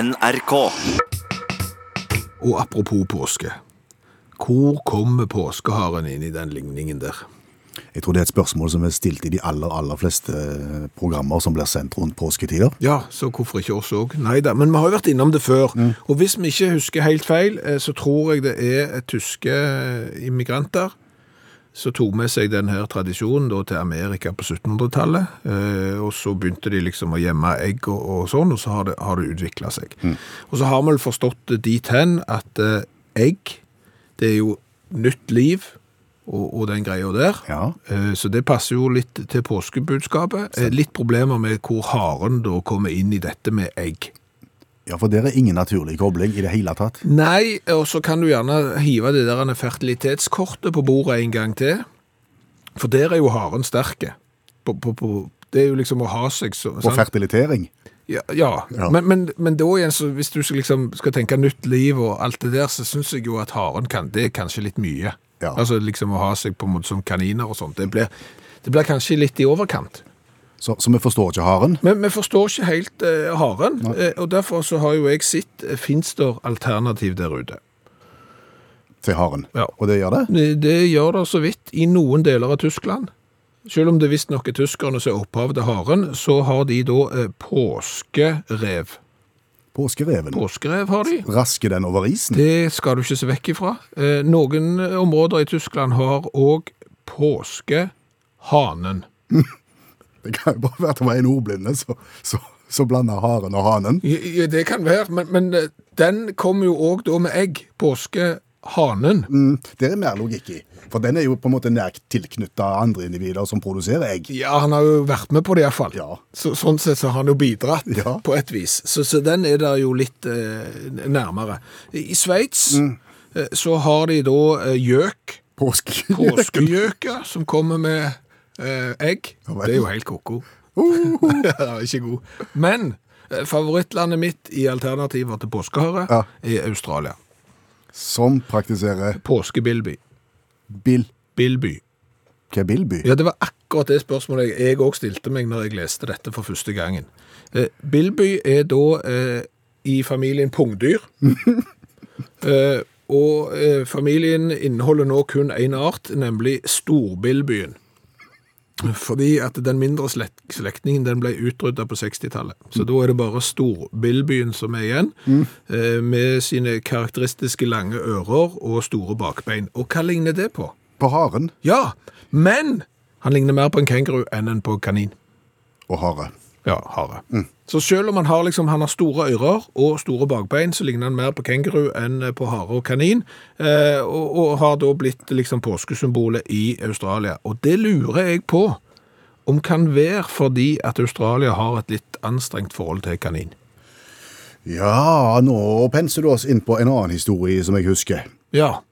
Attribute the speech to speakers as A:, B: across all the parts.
A: NRK.
B: Og apropos påske. Hvor kommer påskeharen inn i den ligningen der?
C: Jeg tror det er et spørsmål som er stilt i de aller, aller fleste eh, programmer som blir sendt rundt påsketider.
B: Ja, så hvorfor ikke oss òg? Nei da, men vi har jo vært innom det før. Og hvis vi ikke husker helt feil, eh, så tror jeg det er eh, tyske eh, immigranter som tok med seg denne tradisjonen da, til Amerika på 1700-tallet. eh, Og så begynte de liksom å gjemme egg og, og sånn, og så har det, har det utvikla seg. Og så har vi vel forstått det dit hen at eh, egg, det er jo nytt liv og, og den greia der.
C: Ja.
B: Eh, Så det passer jo litt til påskebudskapet. Eh, Litt problemer med hvor haren da kommer inn i dette med egg.
C: Ja, for der er ingen naturlig kobling i det hele tatt.
B: Nei, eh, og så kan du gjerne hive det der fertilitetskortet på bordet en gang til. For der er jo haren sterke. På, på, på, det er jo liksom å ha seg så,
C: På fertilitering.
B: Ja, ja.
C: Ja.
B: Men, men, men da igjen, så hvis du skal liksom skal tenke nytt liv og alt det der, så syns jeg jo at haren kan Det er kanskje litt mye.
C: Ja.
B: Altså liksom å ha seg på en måte som kaniner og sånt. Det blir, det blir kanskje litt i overkant.
C: Så, så vi forstår ikke haren.
B: Men vi forstår ikke helt eh, haren, eh, og derfor så har jo jeg sett eh, finnes det alternativ der ute.
C: til haren.
B: Ja.
C: Og det gjør det?
B: Det, det gjør det så vidt i noen deler av Tyskland. Selv om det visstnok er tyskerne som er opphavet til haren, så har de da eh, påskerev.
C: Påskereven.
B: Påskerev har de.
C: Rasker den over isen?
B: Det skal du ikke se vekk ifra. Eh, noen områder i Tyskland har òg påskehanen.
C: Det kan jo bare være at det var en ordblinde så, så, så blanda haren og hanen.
B: Ja, ja, det kan være, men, men eh, den kommer jo òg da med egg. Påskehanen.
C: Mm, det er mer logikk i. For den er jo på en måte nært tilknytta andre individer som produserer egg.
B: Ja, han har jo vært med på det iallfall.
C: Ja.
B: Så, sånn sett så har han jo bidratt,
C: Ja.
B: på et vis. Så, så den er der jo litt eh, nærmere. I Sveits
C: Mm.
B: eh, så har de da eh, gjøk,
C: Påske.
B: påskegjøker, som kommer med eh, egg.
C: Ja vel. Uh.
B: Det er jo helt koko. ja, ikke god. Men eh, favorittlandet mitt i alternativer til påskehare
C: Ja.
B: er Australia.
C: Som praktiserer
B: Påskebillby.
C: Bill
B: Billby.
C: Kebilby.
B: Ja, det var akkurat det spørsmålet jeg òg stilte meg når jeg leste dette for første gangen. Eh, Billby er da eh, i familien pungdyr. eh, og eh, familien inneholder nå kun én art, nemlig storbillbyen. Fordi at den mindre slekt, slektningen den ble utrydda på 60-tallet. Så da er det bare storbillbyen som er igjen, eh, med sine karakteristiske lange ører og store bakbein. Og hva ligner det på?
C: På haren
B: Ja, men han ligner mer på en kenguru enn en på kanin.
C: og hare.
B: Ja, hare. Så selv om han har, liksom, han har store ører og store bakbein, så ligner han mer på kenguru enn på hare og kanin, eh, og, og har da blitt liksom, påskesymbolet i Australia. Og det lurer jeg på om kan være fordi at Australia har et litt anstrengt forhold til kanin.
C: Ja, nå penser du oss inn på en annen historie som jeg husker.
B: Ja,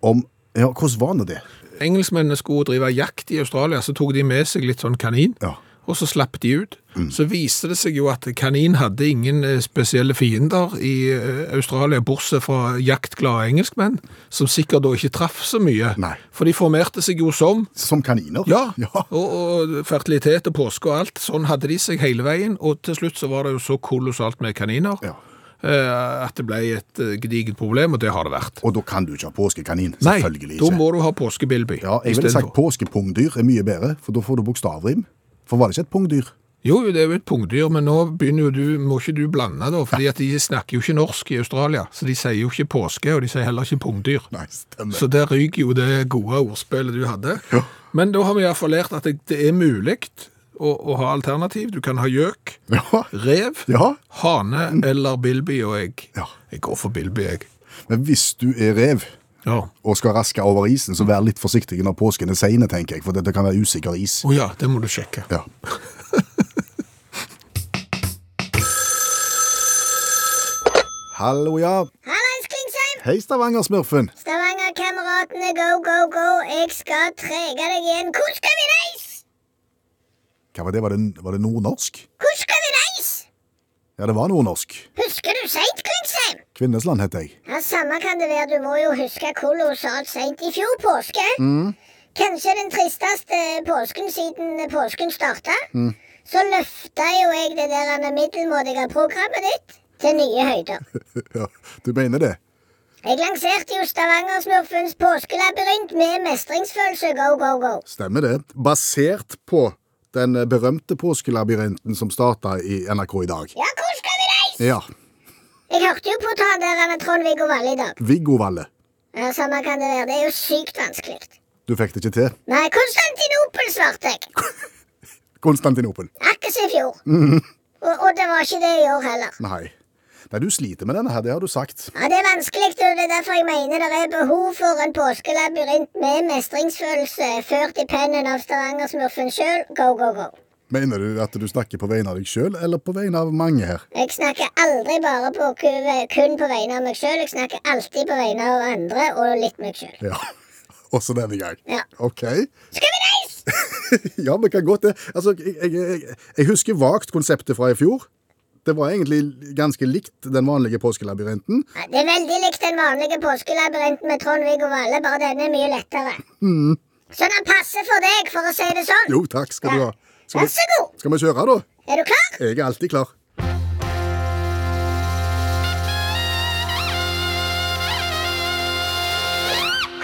C: Om Ja, hvordan var nå det?
B: engelskmennene skulle drive jakt i Australia, så tok de med seg litt sånn kanin.
C: Ja.
B: Og så slapp de ut. Så viste det seg jo at kanin hadde ingen eh, spesielle fiender i eh, Australia, bortsett fra jaktglade engelskmenn, som sikkert da ikke traff så mye.
C: Nei.
B: For de formerte seg jo som
C: Som kaniner?
B: ja,
C: ja.
B: Og, og fertilitet og påske og alt. Sånn hadde de seg hele veien, og til slutt så var det jo så kolossalt med kaniner
C: Ja.
B: eh, at det ble et eh, gedigent problem, og det har det vært.
C: Og da kan du ikke ha påskekanin.
B: Nei,
C: Selvfølgelig
B: da
C: ikke.
B: må du ha påskebillby.
C: Ja, jeg ville sagt påskepungdyr er mye bedre, for da får du bokstavrim. For var det ikke et pungdyr?
B: Jo, jo, det er jo et pungdyr, men nå begynner jo du, må ikke du blande da, fordi at de snakker jo ikke norsk i Australia, så de sier jo ikke påske, og de sier heller ikke pungdyr.
C: Nei, stemmer.
B: Så der ryker jo det gode ordspillet du hadde.
C: Ja.
B: Men da har vi i hvert fall lært at det det er mulig å, å ha alternativ. Du kan ha gjøk,
C: Ja.
B: rev,
C: ja.
B: hane eller bilby og egg.
C: Ja.
B: Jeg går for bilby, jeg.
C: Men hvis du er rev
B: Ja.
C: og skal raske over isen, så vær litt forsiktig når påsken er seine, tenker jeg, for dette kan være usikker is.
B: Å ja, det må du sjekke.
C: Ja. Hallo, ja.
D: Hallais, Klingsheim!
C: Hei, Stavanger-smurfen.
D: Stavanger-kameratene, go, go, go! Jeg skal trege deg igjen. Hvor skal vi reise?
C: Hva var det? Var det, var det nordnorsk?
D: Hvor skal vi reise?
C: Ja, det var nordnorsk.
D: Husker du seint, Klingsheim?
C: Kvinnesland heter jeg.
D: Ja, Samme kan det være, du må jo huske kolossalt seint i fjor påske. Kanskje den tristeste påsken siden påsken starta. Så løfta jo jeg det der middelmådige programmet ditt. til nye høyder.
C: Ja, du mener det?
D: Jeg lanserte jo Stavangersmurfens påskelabyrint med mestringsfølelse go, go, go.
C: Stemmer det. Basert på den berømte påskelabyrinten som starta i NRK i dag.
D: Ja, hvor skal vi reise?
C: Ja.
D: Jeg hørte jo på ta der han er Trond-Viggo Valle i dag.
C: Viggo Valle.
D: Ja, Samme kan det være. Det er jo sykt vanskelig.
C: Du fikk det ikke til.
D: Nei, Konstantinopel svarte jeg.
C: Konstantinopel.
D: Akkurat som i fjor. Og, og det var ikke det i år heller.
C: Nei. Nei, du sliter med denne her, det har du sagt.
D: Ja, Det er vanskelig, og det er derfor jeg mener det er behov for en påskelabyrint med mestringsfølelse ført i pennen av Stavanger-smurfen sjøl. Go, go, go.
C: Mener du at du snakker på vegne av deg sjøl, eller på vegne av mange her?
D: Jeg snakker aldri bare på ku- kun på vegne av meg sjøl. Jeg snakker alltid på vegne av andre og litt meg sjøl.
C: Ja. Også denne gang.
D: Ja.
C: OK.
D: Skal vi reise?
C: Ja, vi kan godt det. Altså, jeg, jeg, jeg, jeg husker vagt konseptet fra i fjor. Det var egentlig ganske likt den vanlige påskelabyrinten.
D: Ja, det er veldig likt den vanlige påskelabyrinten med Trond-Viggo Valle, bare denne er mye lettere. Så den passer for deg, for å si det sånn.
C: Mm. Jo, takk skal du ha. Skal
D: Vær
C: vi,
D: så god.
C: skal vi kjøre, da?
D: Er du klar?
C: Jeg er alltid klar.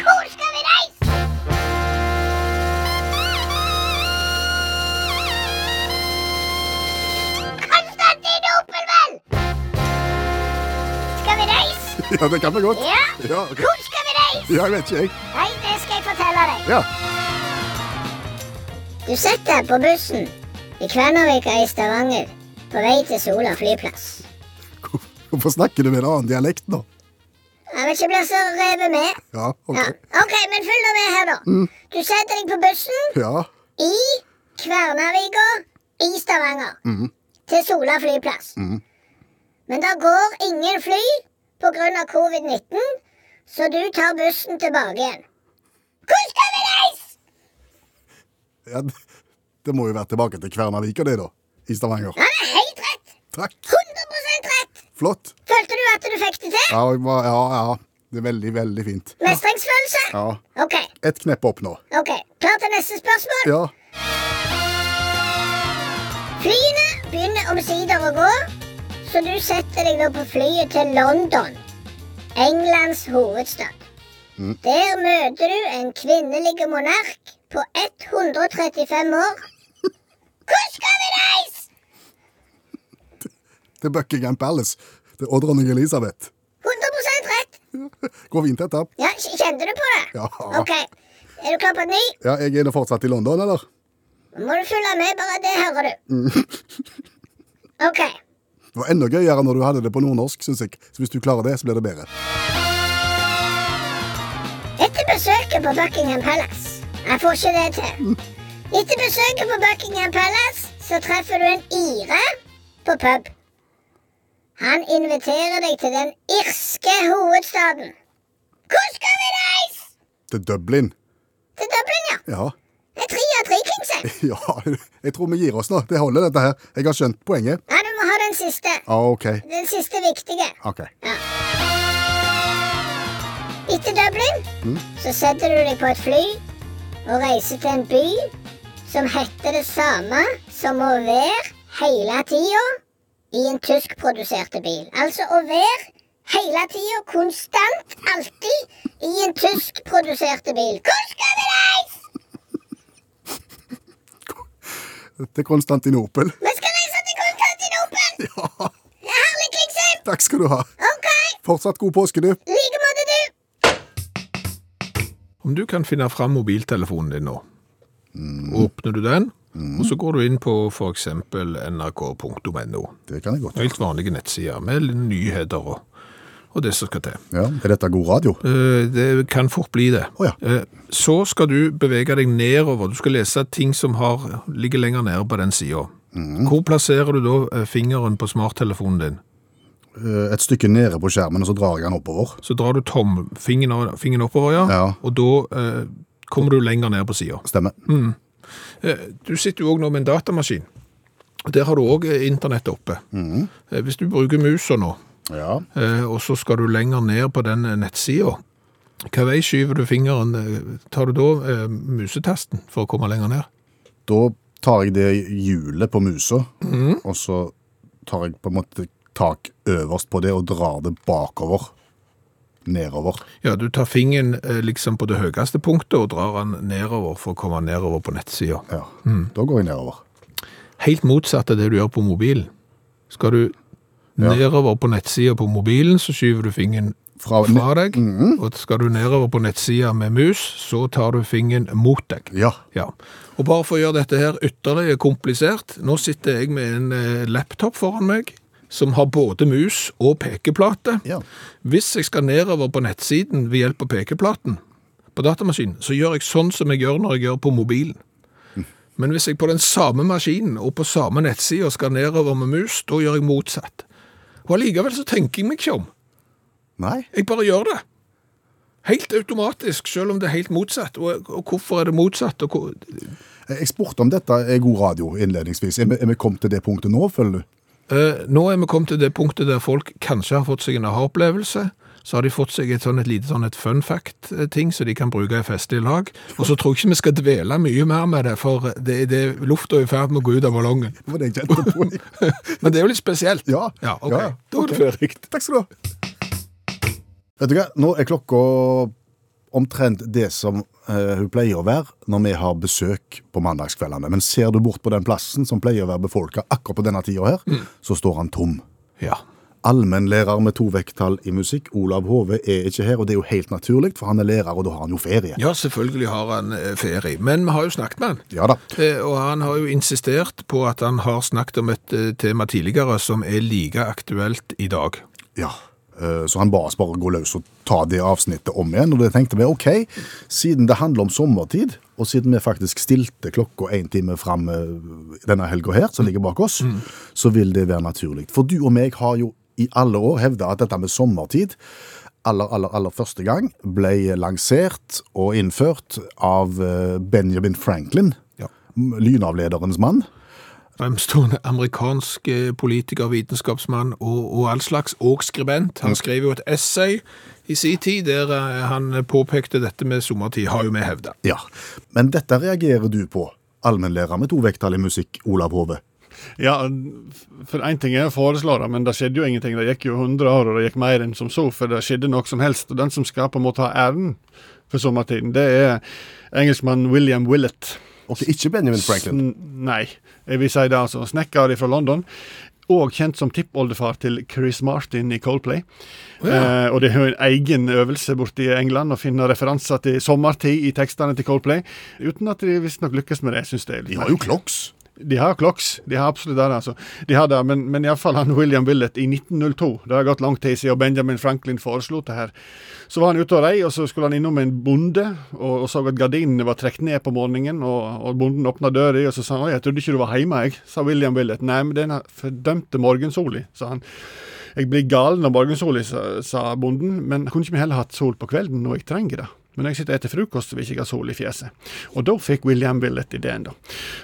D: Hvor skal vi reise? Konstantinopel, vel! Skal vi reise?
C: Ja, det kan vi godt.
D: Ja.
C: Ja, ok.
D: Hvor skal vi reise?
C: ja jeg vet ikke, jeg.
D: Nei, det skal jeg fortelle deg.
C: Ja.
D: Du sitter på bussen i Kvennervika i Stavanger på vei til Sola flyplass.
C: Hvorfor snakker du med en annen dialekt nå?
D: Jeg vil ikke bli så revet med.
C: Ja,
D: Ja.
C: ok. Mm.
D: OK, men følg nå med her, da. Du setter deg på bussen
C: Ja,
D: i Kvernavika i Stavanger.
C: Mm.
D: Til Sola flyplass. Men det går ingen fly pga. covid-19, så du tar bussen tilbake igjen. Hvor skal vi reise?
C: ja det- det må jo være tilbake til Kvernavika, det, da. I Stavanger.
D: Han er helt rett!
C: Takk.
D: 100 rett!
C: Flott.
D: Følte du at du fikk det til?
C: Ja, jeg var- ja. ja. Det er veldig, veldig fint.
D: Mestringsfølelse?
C: Ja.
D: OK.
C: Et knepp opp nå.
D: ok. Klar til neste spørsmål?
C: Ja.
D: Flyene begynner omsider å gå, så du setter deg da på flyet til London, Englands hovedstad.
C: Mm.
D: Der møter du en kvinnelig monark på 135 år. Hvor skal vi reise?
C: Til Buckingham Palace. Til og dronning Elisabeth.
D: 100 rett.
C: Går fint, dette.
D: Ja, kj- Kjente du på det?
C: Ja.
D: OK. Er du klar på et ny?
C: Ja, jeg er nå fortsatt i London, eller?
D: Nå må du følge med, bare det hører du.
C: Mm.
D: OK.
C: Det var enda gøyere når du hadde det på nordnorsk, syns jeg. Så hvis du klarer det, så blir det bedre.
D: Etter besøket på Buckingham Palace Jeg får ikke det til. Etter besøket på Buckingham Palace så treffer du en ire på pub. Han inviterer deg til den irske hovedstaden. Hvor skal vi reise?
C: Til Dublin.
D: Til Dublin, ja.
C: Ja.
D: Det er tre av tre, Kingsey.
C: Ja, jeg tror vi gir oss nå. Det holder, dette her. Jeg har skjønt poenget.
D: Ja, du må ha den siste.
C: Ja, OK.
D: Den siste viktige.
C: OK.
D: Etter Dublin så setter du deg på et fly og reiser til en by som heter det samme som å være hele tida i en tyskproduserte bil. Altså å være hele tida, konstant, alltid, i en tyskproduserte bil. Hvor skal vi reise?
C: Til Konstantinopel.
D: Vi skal reise til Konstantinopel!
C: Ja,
D: Det er herlig, Klingsheim!
C: takk skal du ha.
D: OK,
C: Fortsatt god påske, du.
D: i like måte, du.
E: Om du kan finne fram mobiltelefonen din nå,
C: Mm.
E: åpner du den, og så går du inn på for eksempel nrk.no.
C: Det kan jeg godt.
E: Helt vanlige nettsider med nyheter og, og det som skal til.
C: Ja, Er dette god radio?
E: Eh, Det kan fort bli det.
C: Å ja.
E: Eh, Så skal du bevege deg nedover. Du skal lese ting som har, ligger lenger nede på den sida.
C: Mhm.
E: Hvor plasserer du da eh, fingeren på smarttelefonen din?
C: Eh, Et stykke nede på skjermen, og så drar jeg den oppover.
E: Så drar du tomfingeren fingeren oppover, ja.
C: Ja.
E: og da eh, kommer du lenger ned på sida.
C: Stemmer.
E: Du sitter jo òg nå med en datamaskin. Der har du òg internett oppe.
C: Mhm.
E: Eh, Hvis du bruker musa nå,
C: Ja.
E: eh, og så skal du lenger ned på den
B: eh,
E: nettsida, hva vei skyver du fingeren? eh, Tar du da eh, musetasten for å komme lenger ned?
C: Da tar jeg det hjulet på musa, og så tar jeg på en måte tak øverst på det og drar det bakover. Nedover.
B: Ja, du tar fingeren eh, liksom på det høyeste punktet og drar den nedover for å komme nedover på nettsida.
C: Ja. Da går jeg nedover.
B: Helt motsatt av det du gjør på mobilen. Skal du nedover på nettsida på mobilen, så skyver du fingeren
C: Fra- Mhm.
B: fra deg.
C: Mm.
B: Og skal du nedover på nettsida med mus, så tar du fingeren mot deg.
C: Ja.
B: Ja. Og bare for å gjøre dette her ytterligere komplisert, nå sitter jeg med en eh, laptop foran meg, som har både mus og pekeplate.
C: Ja.
B: Hvis jeg skal nedover på nettsiden ved hjelp av pekeplaten på datamaskinen, så gjør jeg sånn som jeg gjør når jeg gjør på mobilen. Men hvis jeg på den samme maskinen og på samme nettside skal nedover med mus, da gjør jeg motsatt. Og allikevel så tenker jeg meg ikke om.
C: Nei.
B: Jeg bare gjør det. Helt automatisk, selv om det er helt motsatt. Og, og hvorfor er det motsatt? Og hvor,
C: Jeg spurte om dette er god radio innledningsvis. Er vi, er vi kommet til det punktet nå, føler du?
B: Eh, nå er vi kommet til det punktet der folk kanskje har fått seg en aha-opplevelse. Så har de fått seg et, sånn, et lite sånn et fun fact-ting som de kan bruke i fest i lag. Og så tror jeg ikke vi skal dvele mye mer med det, for det, det, lufta er i ferd med å gå ut av ballongen.
C: Det var det jeg kjente på.
B: Men det er jo litt spesielt.
C: Ja.
B: Ja, ok.
C: Ja,
B: Da er det
C: ok.
B: ferdig.
C: Takk skal du ha. Vet du hva, nå er klokka omtrent det som eh, hun pleier å være når vi har besøk på mandagskveldene. Men ser du bort på den plassen som pleier å være befolka akkurat på denne tida her,
B: Mm.
C: så står han tom.
B: Ja.
C: Allmennlærer med to vekttall i musikk, Olav Hove, er ikke her, og det er jo helt naturlig, for han er lærer, og da har han jo ferie.
B: ja, selvfølgelig har han eh, ferie. Men vi har jo snakket med han.
C: Ja da.
B: Eh, Og han har jo insistert på at han har snakket om et eh, tema tidligere som er like aktuelt i dag.
C: Ja. eh, Så han ba oss bare gå løs og ta det avsnittet om igjen. Og det tenkte vi ok, siden det handler om sommertid, og siden vi faktisk stilte klokka én time fram eh, denne helga her, som ligger bak oss, så vil det være naturlig. For du og meg har jo i alle år hevda at dette med sommertid aller, aller, aller første gang ble lansert og innført av eh, Benjamin Franklin,
B: Ja.
C: m- lynavlederens mann.
B: fremstående amerikansk eh, politiker, vitenskapsmann og, og all slags, og skribent. Han skrev jo et essay i sin tid der eh, han påpekte dette med sommertid, har jo vi hevda.
C: Ja, Men dette reagerer du på, allmennlærer med to vekttall i musikk, Olav Hove.
F: Ja, for én ting er å foreslå det, men det skjedde jo ingenting. Det gikk jo 100 år, og det gikk mer enn som så, for det skjedde noe som helst. Og den som skal på en måte ha æren for sommertiden, det er engelskmann William Willett.
C: Ok, Ikke Benjamin Franklin.
F: Sn- Nei, jeg vil si det altså. Snekker fra London. Og kjent som tippoldefar til Chris Martin i Coldplay. Eh, og det er jo en egen øvelse borte i England å finne referanser til sommertid i tekstene til Coldplay. Uten at de visstnok lykkes med det. Jeg synes det er litt
C: De har jo Clocks.
F: de har Clocks. De har absolutt det. altså. De har det, Men, men iallfall han William Willett i 1902. Det har gått lang tid siden Benjamin Franklin foreslo det her. Så var han ute og rei, og så skulle han innom en bonde og, og så at gardinene var trukket ned på morgenen. Og, og bonden åpna døra, og så sa han 'Oi, jeg trodde ikke du var hjemme', jeg, sa William Willett. 'Nei, men den fordømte morgensola', sa han. 'Jeg blir galen av morgensola', sa, sa bonden. 'Men kunne ikke vi heller hatt sol på kvelden når jeg trenger det?' Men når jeg sitter og spiser frokost, så vil jeg ikke ha sol i fjeset. Og da fikk William Willett ideen, da.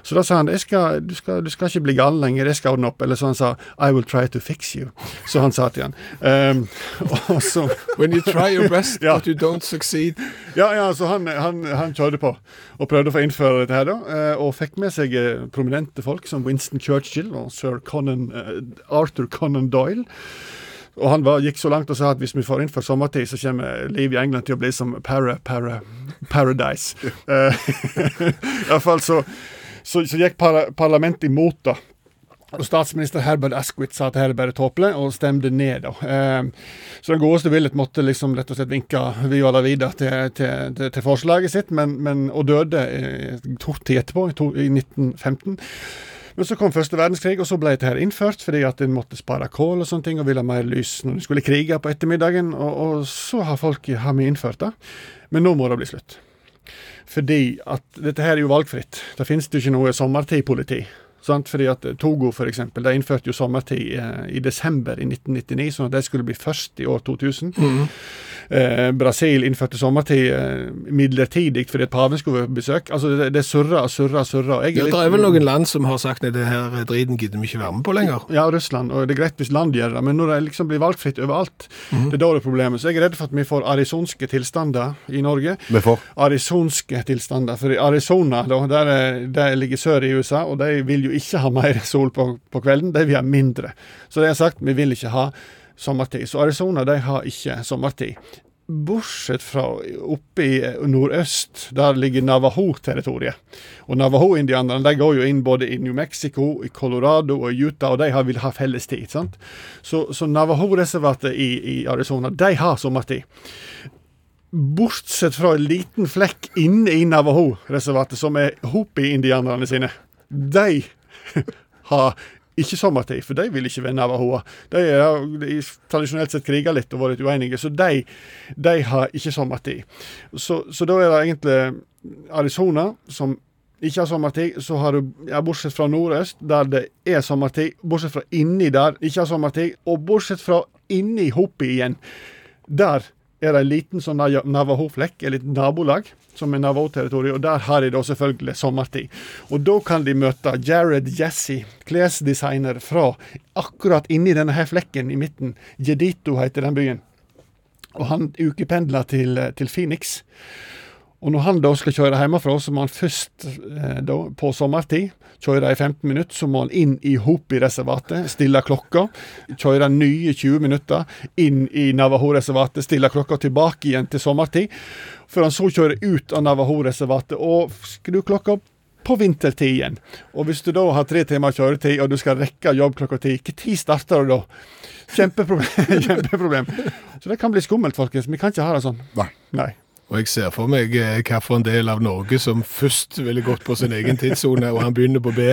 F: Så da sa han jeg skal, du, skal, du skal ikke bli gal lenger, jeg skal ordne opp. Eller så han sa I will try to fix you. Så han sa til han. Ehm, og så
B: When you try your best,
F: Ja.
B: but you don't succeed.
F: ja, ja, så han, han, han kjørte på og prøvde å få innføre dette her, da. eh, Og fikk med seg eh, prominente folk som Winston Churchill og sir Conan, eh, Arthur Conan Doyle. Og han var, gikk så langt og sa at hvis vi får innført sommertid, så kommer livet i England til å bli som para, para, paradise. Eh, i hvert fall så, så, så gikk para, parlamentet imot det. Og Statsminister Herbert Asquith sa at her er bare tåpelig, og stemte ned. da. Ehm, så den godeste Willet måtte liksom rett og slett vinke Viola la vida til, til, til, til forslaget sitt, men, men, og døde eh, to tid etterpå, i to, i 1915. Men så kom første verdenskrig, og så ble dette her innført fordi at en måtte spare kål og sånne ting, og ville ha mer lys når en skulle krige på ettermiddagen, og, og så har folk har vi innført det. Men nå må det bli slutt. Fordi at dette her er jo valgfritt. Det finnes det jo ikke noe sommertidpoliti. Sant? Fordi at Togo for eksempel, de innførte jo sommertid eh, i desember i 1999, sånn at de skulle bli først i år 2000.
B: Mhm.
F: Eh, Brasil innførte sommertid eh, midlertidig fordi at paven skulle være på besøk. Altså, det, det surrer og surrer og surrer. og jeg
B: Ja,
F: litt-
B: det er vel noen land som har sagt at det her eh, driten gidder vi ikke være med på lenger.
F: ja, Russland, og det er greit hvis land gjør det, men når det liksom blir valgfritt overalt, det er da det er problemet. Så jeg er redd for at vi får arizonske tilstander i Norge.
C: Vi får.
F: Arizonske tilstander, for i Arizona, da, der, er- der ligger sør i USA, og de vil jo ikke ha mer sol på, på kvelden, de vil ha mindre. Så de har sagt vi vil ikke ha sommertid. Så Arizona de har ikke sommertid. Bortsett fra oppe i nordøst, der ligger Navaho-territoriet. Og Navaho-indianerne de går jo inn både i New Mexico, i Colorado og i Utah, og de har vil ha fellestid. sant? Så, så Navaho-reservatet i, i Arizona, de har sommertid. Bortsett fra en liten flekk inne i Navaho-reservatet, som er Hopi-indianerne sine. De har ikke sommertid, for de vil ikke være navahoer. De har de tradisjonelt sett kriga litt og vært litt uenige, så de, de har ikke sommertid. Så, så da er det egentlig Arizona som ikke har sommertid, så har du ja, bortsett fra nordøst, der det er sommertid, bortsett fra inni der ikke har sommertid, og bortsett fra inni Hopi igjen. Der er det en liten sånn nav- Navaho-flekk, et lite nabolag, som er Navaho-territoriet, og der har de da selvfølgelig sommertid. Og da kan de møte Jared Jesse, klesdesigner fra akkurat inni denne her flekken i midten. Jedito heter den byen. Og han ukependler til, eh, til Phoenix. Og når han da skal kjøre hjemmefra, så må han først eh, da, på sommertid kjøre i 15 minutter, så må han inn i Hopi-reservatet, stille klokka, kjøre nye 20 minutter inn i Navaho-reservatet, stille klokka tilbake igjen til sommertid, før han så kjører ut av Navaho-reservatet og skru klokka på vintertid igjen. Og hvis du da har tre timer kjøretid, og du skal rekke jobb klokka ti, når starter du da? Kjempeproblem. Kjempeproblem. Så det kan bli skummelt, folkens. Vi kan ikke ha det sånn.
C: Nei.
F: Nei.
E: Og jeg ser for meg eh, hva for en del av Norge som først ville gått på sin egen tidssone, og han begynner på B,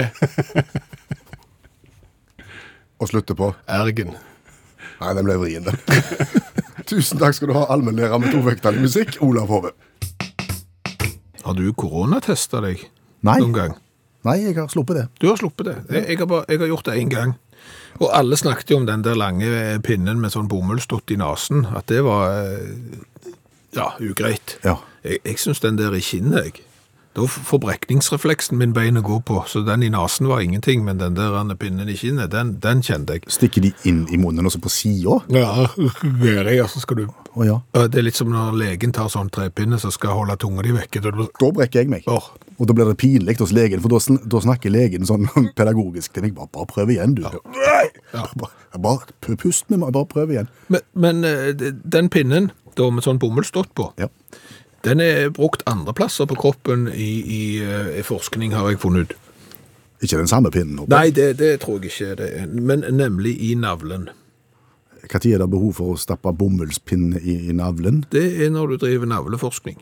C: Og slutter på
E: Ergen.
C: Nei, den ble vrien, den. Tusen takk skal du ha, allmennlærer med tovektig musikk, Olav Hove.
E: Har du koronatesta deg
C: Nei.
E: noen gang?
C: Nei, jeg har sluppet det.
E: Du har sluppet det. Jeg, jeg, har, bare, jeg har gjort det én gang. Og alle snakket jo om den der lange pinnen med sånn bomullsdott i nesen, at det var eh, ja, ugreit.
C: Ja.
E: Jeg, jeg syns den der i kinnet, jeg. Da f- får brekningsrefleksen min beinet gå på, så den i nesen var ingenting, men den der andre pinnen i kinnet, den, den kjente jeg.
C: Stikker de inn i munnen også på sida?
E: Ja, det er det, og så skal du
C: Å ja.
E: Ja, Det er litt som når legen tar sånn trepinne som skal holde tunga di vekke. Da du-
C: Da brekker jeg meg.
E: Åh,
C: Og da blir det pinlig hos legen, for da sn- da snakker legen sånn pedagogisk til meg. Bare, bare prøv igjen, du. Nei! Bare, bare pu- pust med meg, bare prøv igjen.
E: Men, men eh, d- den pinnen da med sånn bomullsdott på,
C: Ja.
E: den er brukt andre plasser på kroppen i, i, eh, forskning, har jeg funnet ut.
C: Ikke den samme pinnen. håper
E: Nei, det, det tror jeg ikke. Det er, men nemlig i navlen.
C: jeg. Hva tid er det behov for å stappe bomullspinne i, i navlen?
E: Det er når du driver navleforskning.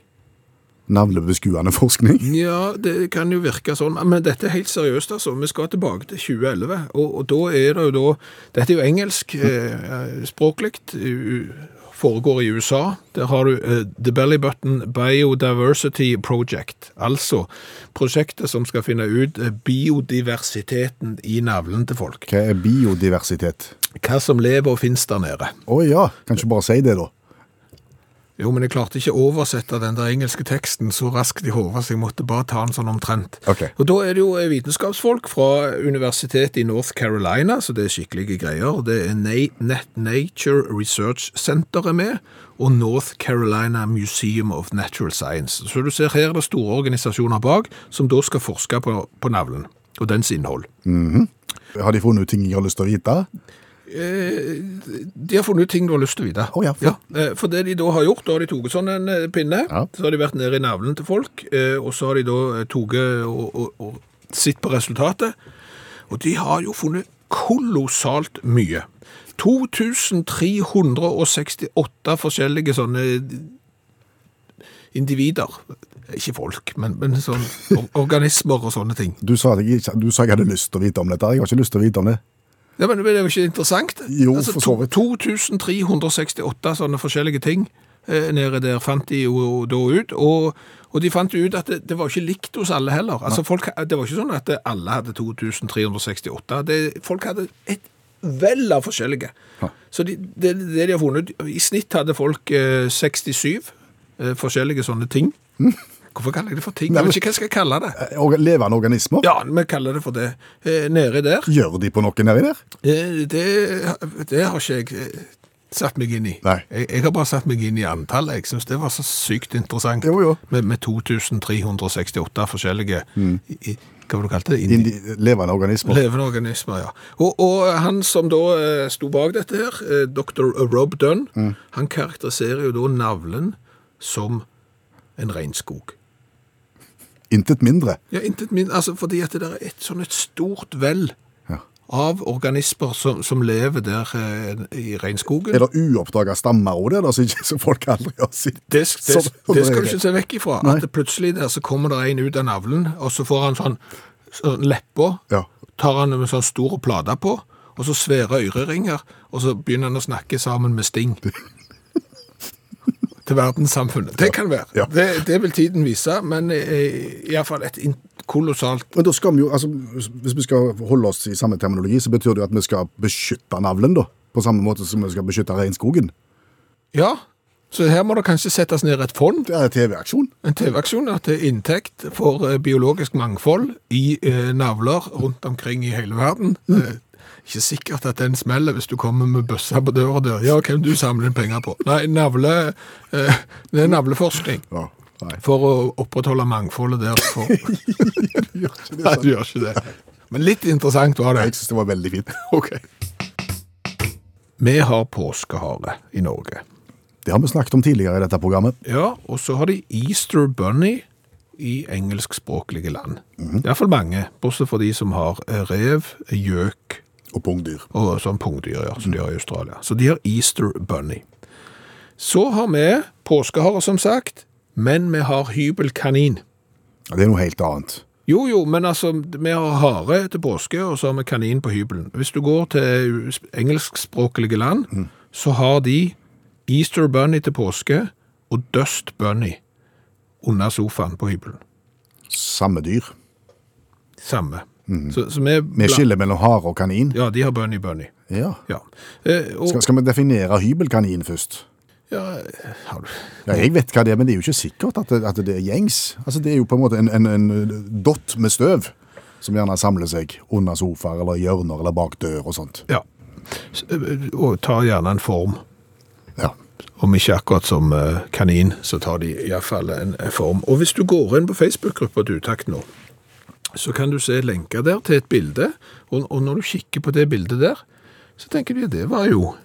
C: Navlebeskuende forskning?
E: Ja, det kan jo virke sånn, men dette er helt seriøst, altså. Vi skal tilbake til 2011, og, og da er det jo da Dette er jo engelsk eh, språklig. u- u- Foregår i USA. Der har du eh, The Belly Button Biodiversity Project. Altså prosjektet som skal finne ut eh, biodiversiteten i navlen til folk.
C: Hva er biodiversitet?
E: Hva som lever og finnes der nede.
C: Å ja, kan ikke bare si det, da.
E: Jo, men jeg klarte ikke å oversette den der engelske teksten så raskt i hodet, så jeg måtte bare ta den sånn omtrent.
C: Ok.
E: Og da er det jo eh, vitenskapsfolk fra universitetet i North Carolina, så det er skikkelige greier. Det er Na- Nat Nature Research Center er med, og North Carolina Museum of Natural Science. Så du ser her er det store organisasjoner bak, som da skal forske på, på navlen og dens innhold.
C: Har de funnet ut ting jeg har lyst til å vite?
E: De har funnet ut ting du har lyst til å vite.
C: Å, ja.
E: eh, For det de da har gjort, da har de tatt sånn en eh, pinne,
C: Ja.
E: så har de vært nede i navlen til folk, eh, og så har de da eh, tatt og, og, og sett på resultatet. Og de har jo funnet kolossalt mye. 2368 forskjellige sånne eh, individer. Ikke folk, men, men sånn or- organismer og sånne ting.
C: Du sa, jeg ikke, du sa jeg hadde lyst til å vite om dette. Jeg har ikke lyst til å vite om det.
E: Ja, men Det er jo ikke interessant. Altså,
C: Jo, for så vidt.
E: to- 2368 sånne forskjellige ting eh, nede der fant de jo da ut. Og, og de fant jo ut at det, det var ikke likt hos alle heller. Altså folk, Det var ikke sånn at alle hadde 2368. Det, folk hadde et vell av forskjellige. Så de, det, det de har funnet ut I snitt hadde folk eh, 67 eh, forskjellige sånne ting.
C: Mm.
E: Hvorfor kaller jeg det for ting? Jeg vet ikke hva jeg skal kalle det.
C: Eh, orga- Levende organismer?
E: Ja, vi kaller det for det. Eh, nede der
C: Gjør de på noe nedi der?
E: det, det, det har ikke jeg eh, satt meg inn i.
C: Nei.
E: Jeg, jeg har bare satt meg inn i antallet. Jeg syns det var så sykt interessant
C: Jo, jo.
E: med, med 2368 forskjellige i- i- Hva var det du kalte det? Indi
C: Mm. Indi levende organismer.
E: Levende organismer, ja. Og, og han som da eh, sto bak dette her, eh, dr. Rob Dunn,
C: Mm.
E: han karakteriserer jo da navlen som en regnskog.
C: Intet mindre.
E: Ja, intet min, altså fordi at det der er et sånn et stort vel
C: Ja.
E: av organismer som, som lever der eh, i regnskogen.
C: Er det uoppdaga stammer òg, der, da, som ikke- som folk aldri har sett?
E: Det, det,
C: Som- som
E: det skal
C: regel.
E: du ikke se vekk ifra.
C: Nei.
E: At det plutselig der så kommer det en ut av navlen, og så får han sånn, sånn lepper,
C: Ja.
E: tar han en sånn stor plate på, og så svære øreringer, og så begynner han å snakke sammen med Sting. Til verdenssamfunnet. Det kan være.
C: Ja.
E: Det, det vil tiden vise, men eh, i hvert fall et in- kolossalt
C: Men da skal vi jo, altså, Hvis vi skal holde oss i samme terminologi, så betyr det jo at vi skal beskytte navlen, da. På samme måte som vi skal beskytte regnskogen.
E: Ja, så her må det kanskje settes ned et fond,
C: Det er en TV-aksjon.
E: en TV-aksjon, til inntekt for eh, biologisk mangfold i eh, navler rundt omkring i hele verden. Eh, Ikke sikkert at den smeller hvis du kommer med bøssa på døra der. Ja, hvem du samler inn penger på? Nei, navle, eh, det er navleforskning
C: Ja, nei.
E: for å opprettholde mangfoldet der. For... Nei, du gjør ikke det. Men litt interessant var det.
C: Jeg syns det var veldig fint.
E: Ok. Vi har påskehare i Norge.
C: Det har vi snakket om tidligere i dette programmet.
E: Ja, og så har de Easter Bunny i engelskspråklige land. Det er iallfall mange, bortsett fra de som har eh, rev, gjøk
C: Og pungdyr.
E: og sånn pungdyr ja, som de har i Australia. Så de har Easter Bunny. Så har vi påskehare, som sagt, men vi har hybelkanin.
C: Ja, det er noe helt annet.
E: Jo, jo, men altså, vi har hare til påske, og så har vi kanin på hybelen. Hvis du går til engelskspråklige land, så har de Easter Bunny til påske og Dust Bunny under sofaen på hybelen.
C: Samme dyr.
E: Samme. Så, så vi,
C: Vi skiller mellom hare og kanin.
E: Ja, de har Bunny Bunny.
C: Ja.
E: Ja. Eh, og,
C: Skal, skal vi definere hybelkanin først?
E: ja, har du...
C: Ja, jeg vet hva det er, men det er jo ikke sikkert at det, at det er gjengs. Altså, det er jo på en måte en, en, en dott med støv, som gjerne samler seg under sofaer eller i hjørner eller bak dør og sånt.
E: ja. S- eh, Og tar gjerne en form.
C: Ja.
E: Om ikke akkurat som eh, kanin, så tar de iallfall en en form. Og hvis du går inn på Facebook-gruppa til Utakt nå, så kan du se lenka der til et bilde. Og, og når du kikker på det bildet der, så tenker du at det var jo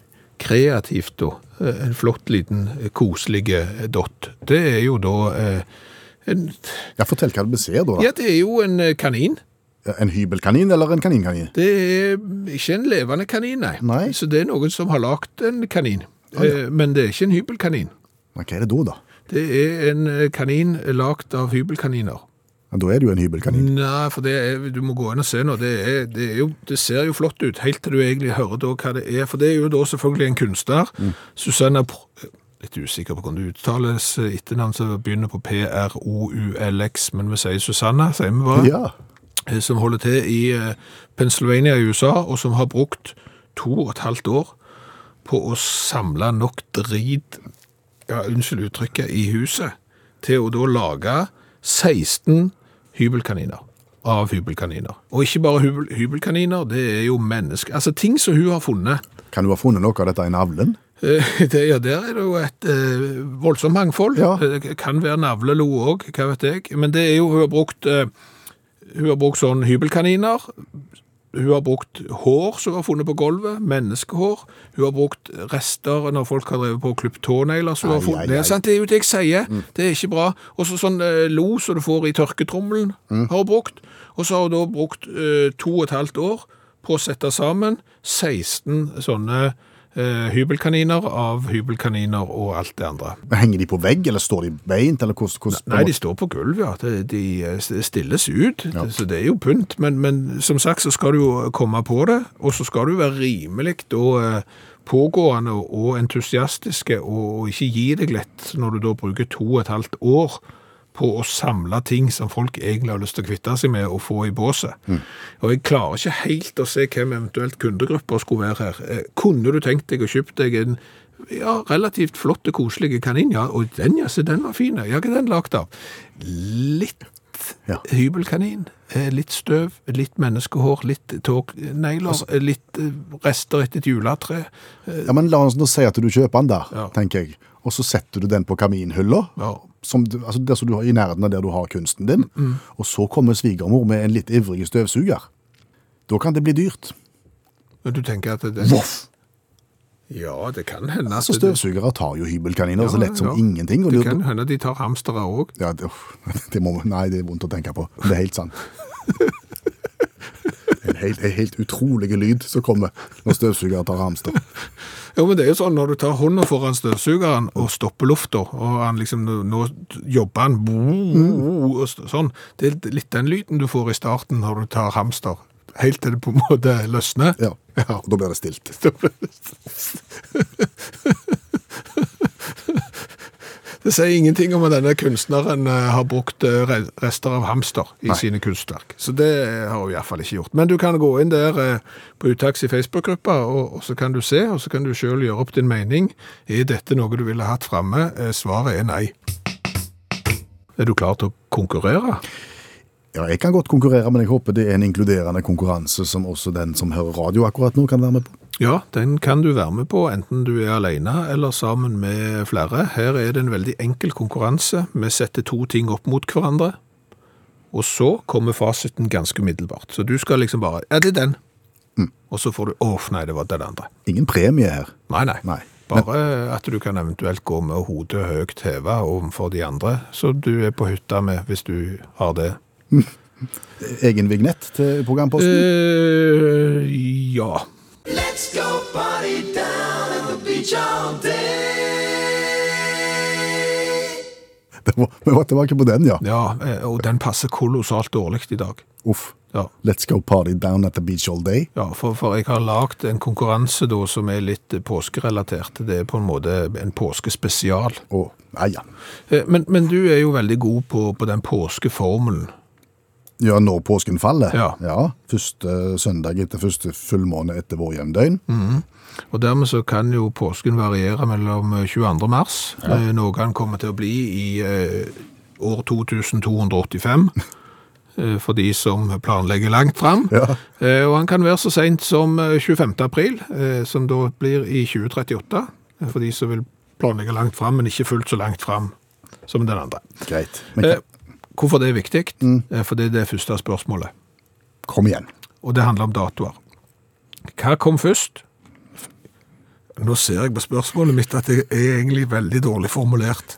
E: kreativt, da. Eh, En flott, liten, eh, koselig eh, dott. Det er jo da eh, en,
C: Ja, fortell hva vi ser da.
E: Ja, det er jo en eh, kanin.
C: En hybelkanin eller en kaninkanin?
E: Det er ikke en levende kanin, nei.
C: Nei.
E: Så det er noen som har lagd en kanin. Eh, Men det er ikke en hybelkanin.
C: Men hva er det da, da?
E: Det er en eh, kanin lagd av hybelkaniner.
C: Ja, da er det jo en hybelkanin.
E: Nei, for det er, du må gå inn og se nå. Det, er, det, er jo, det ser jo flott ut, helt til du egentlig hører da hva det er. For det er jo da selvfølgelig en kunstner.
C: Mm.
E: Susanna Pr- Litt usikker på hvordan det uttales eh, etternavn som begynner på P-R-O-U-L-X, men vi sier Susanna, sier vi bare
C: Ja.
E: eh, som holder til i eh, Pennsylvania i USA, og som har brukt to og et halvt år på å samle nok drit, ja, unnskyld uttrykket, i huset, til å da lage 16 hybelkaniner av hybelkaniner. Og ikke bare hybel, hybelkaniner, det er jo mennesker. Altså ting som hun har funnet.
C: Kan du ha funnet noe av dette i navlen?
E: Eh, Det, ja, der er det jo et eh, voldsomt mangfold.
C: Ja.
E: Eh, Det kan være navlelo òg, hva vet jeg. Men det er jo Hun har brukt, eh, hun har brukt sånn hybelkaniner. Hun har brukt hår som var funnet på gulvet, menneskehår. Hun har brukt rester når folk har drevet på og klippet tånegler. som hun har
C: Ai,
E: funnet.
C: ai,
E: Det,
C: ai. Mm.
E: er sant? det er jo det jeg sier. Det er ikke bra. Og så sånn eh, lo som du får i tørketrommelen,
C: Mm.
E: har hun brukt. Og så har hun da brukt eh, to og et halvt år på å sette sammen 16 sånne eh, hybelkaniner av hybelkaniner og alt det andre.
C: Men Henger de på vegg, eller står de beint, eller hvordan? hvordan
E: Nei, de står på gulv, ja. De, de eh, stilles ut, så det er jo pynt. Men, men som sagt så skal du jo eh, komme på det, og så skal du være rimelig og eh, pågående og entusiastiske, og, og ikke gi deg lett når du da bruker to og et halvt år på å samle ting som folk egentlig har lyst til å kvitte seg med og få i båset. Og jeg klarer ikke helt å se hvem eventuelt kundegrupper skulle være her. Eh, Kunne du tenkt deg å kjøpe deg en ja, relativt flott og koselig kanin, ja, og den, ja, se, den var fin, ja, hva er den lagt av? Litt
C: Ja.
E: hybelkanin, eh, litt støv, litt menneskehår, litt tågnegler,
C: Altså-
E: eh, litt eh, rester etter et juletre.
C: Ja, men la oss nå si at du kjøper den der,
E: Ja.
C: tenker jeg. Og så setter du den på kaminhylla,
E: Ja. Mm,
C: som, du- altså det som du har i nærheten av der du har kunsten din. Og så kommer svigermor med en litt ivrig støvsuger. Da kan det bli dyrt.
E: Men du tenker at det
C: Voff!
E: Ja, det kan hende. at
C: Altså
E: det-
C: Støvsugere tar jo hybelkaniner så lett som
E: ja.
C: ingenting. Og
E: Det
C: du-
E: kan hende de tar hamstere òg.
C: Ja, det, uff, det må, nei, det er vondt å tenke på. Det er helt sant. En helt, en helt utrolig lyd som kommer når støvsuger tar hamster.
E: Jo, men det er jo sånn når du tar hånda foran støvsugeren og stopper lufta, og han liksom nå- Nå jobber han og st- sånn. Det er litt den lyden du får i starten når du tar hamster. Helt til det på en måte løsner.
C: Ja, og Da blir det stilt.
E: Da blir det Det sier ingenting om at denne kunstneren eh, har brukt eh, re- rester av hamster i sine kunstverk. Så det eh, har hun iallfall ikke gjort. Men du kan gå inn der eh, på Utaks i Facebook-gruppa, og, og så kan du se, og så kan du sjøl gjøre opp din mening. Er dette noe du ville hatt framme? Eh, Svaret er nei. Er du klar til å konkurrere?
C: Ja, Jeg kan godt konkurrere, men jeg håper det er en inkluderende konkurranse som også den som hører radio akkurat nå, kan være med på.
E: Ja, den kan du være med på, enten du er alene eller sammen med flere. Her er det en veldig enkel konkurranse. Vi setter to ting opp mot hverandre, og så kommer fasiten ganske umiddelbart. Så du skal liksom bare Ja, det er den. Og så får du Å, nei, det var den andre.
C: Ingen premie her.
E: Nei, nei.
C: Nei.
E: Bare at du kan eventuelt gå med hodet høyt heva overfor de andre, så du er på hytta med, hvis du har det.
C: Egen vignett til programposten.
E: eh, ja.
G: Let's go party down at the beach all day.
E: Eh.
C: Det var, vi var tilbake på den, ja.
E: ja. eh, Og den passer kolossalt dårlig i dag.
C: Uff.
E: Ja.
C: Let's go party down at the beach all day.
E: Ja, for, for jeg har lagd en konkurranse da som er litt eh, påskerelatert. Det er på en måte en påskespesial.
C: Og, nei, ja.
E: Eh, Men, men du er jo veldig god på, på den påskeformelen.
C: Ja, når påsken faller.
E: Ja.
C: Første søndag etter første fullmåne etter vår hjemdøgn.
E: Mm. Og dermed så kan jo påsken variere mellom 22. mars, eh, noe han kommer til å bli i eh, år 2285, eh, for de som planlegger langt fram.
C: Ja.
E: Eh, og han kan være så sent som eh, 25. april, eh, som da blir i 2038, eh, for de som vil planlegge langt fram, men ikke fullt så langt fram som den andre.
C: Greit. Men
E: Eh, hvorfor det er viktig? Eh, for det er det første spørsmålet,
C: kom igjen.
E: og det handler om datoer. Hva kom først? Nå ser jeg på spørsmålet mitt at det er egentlig veldig dårlig formulert.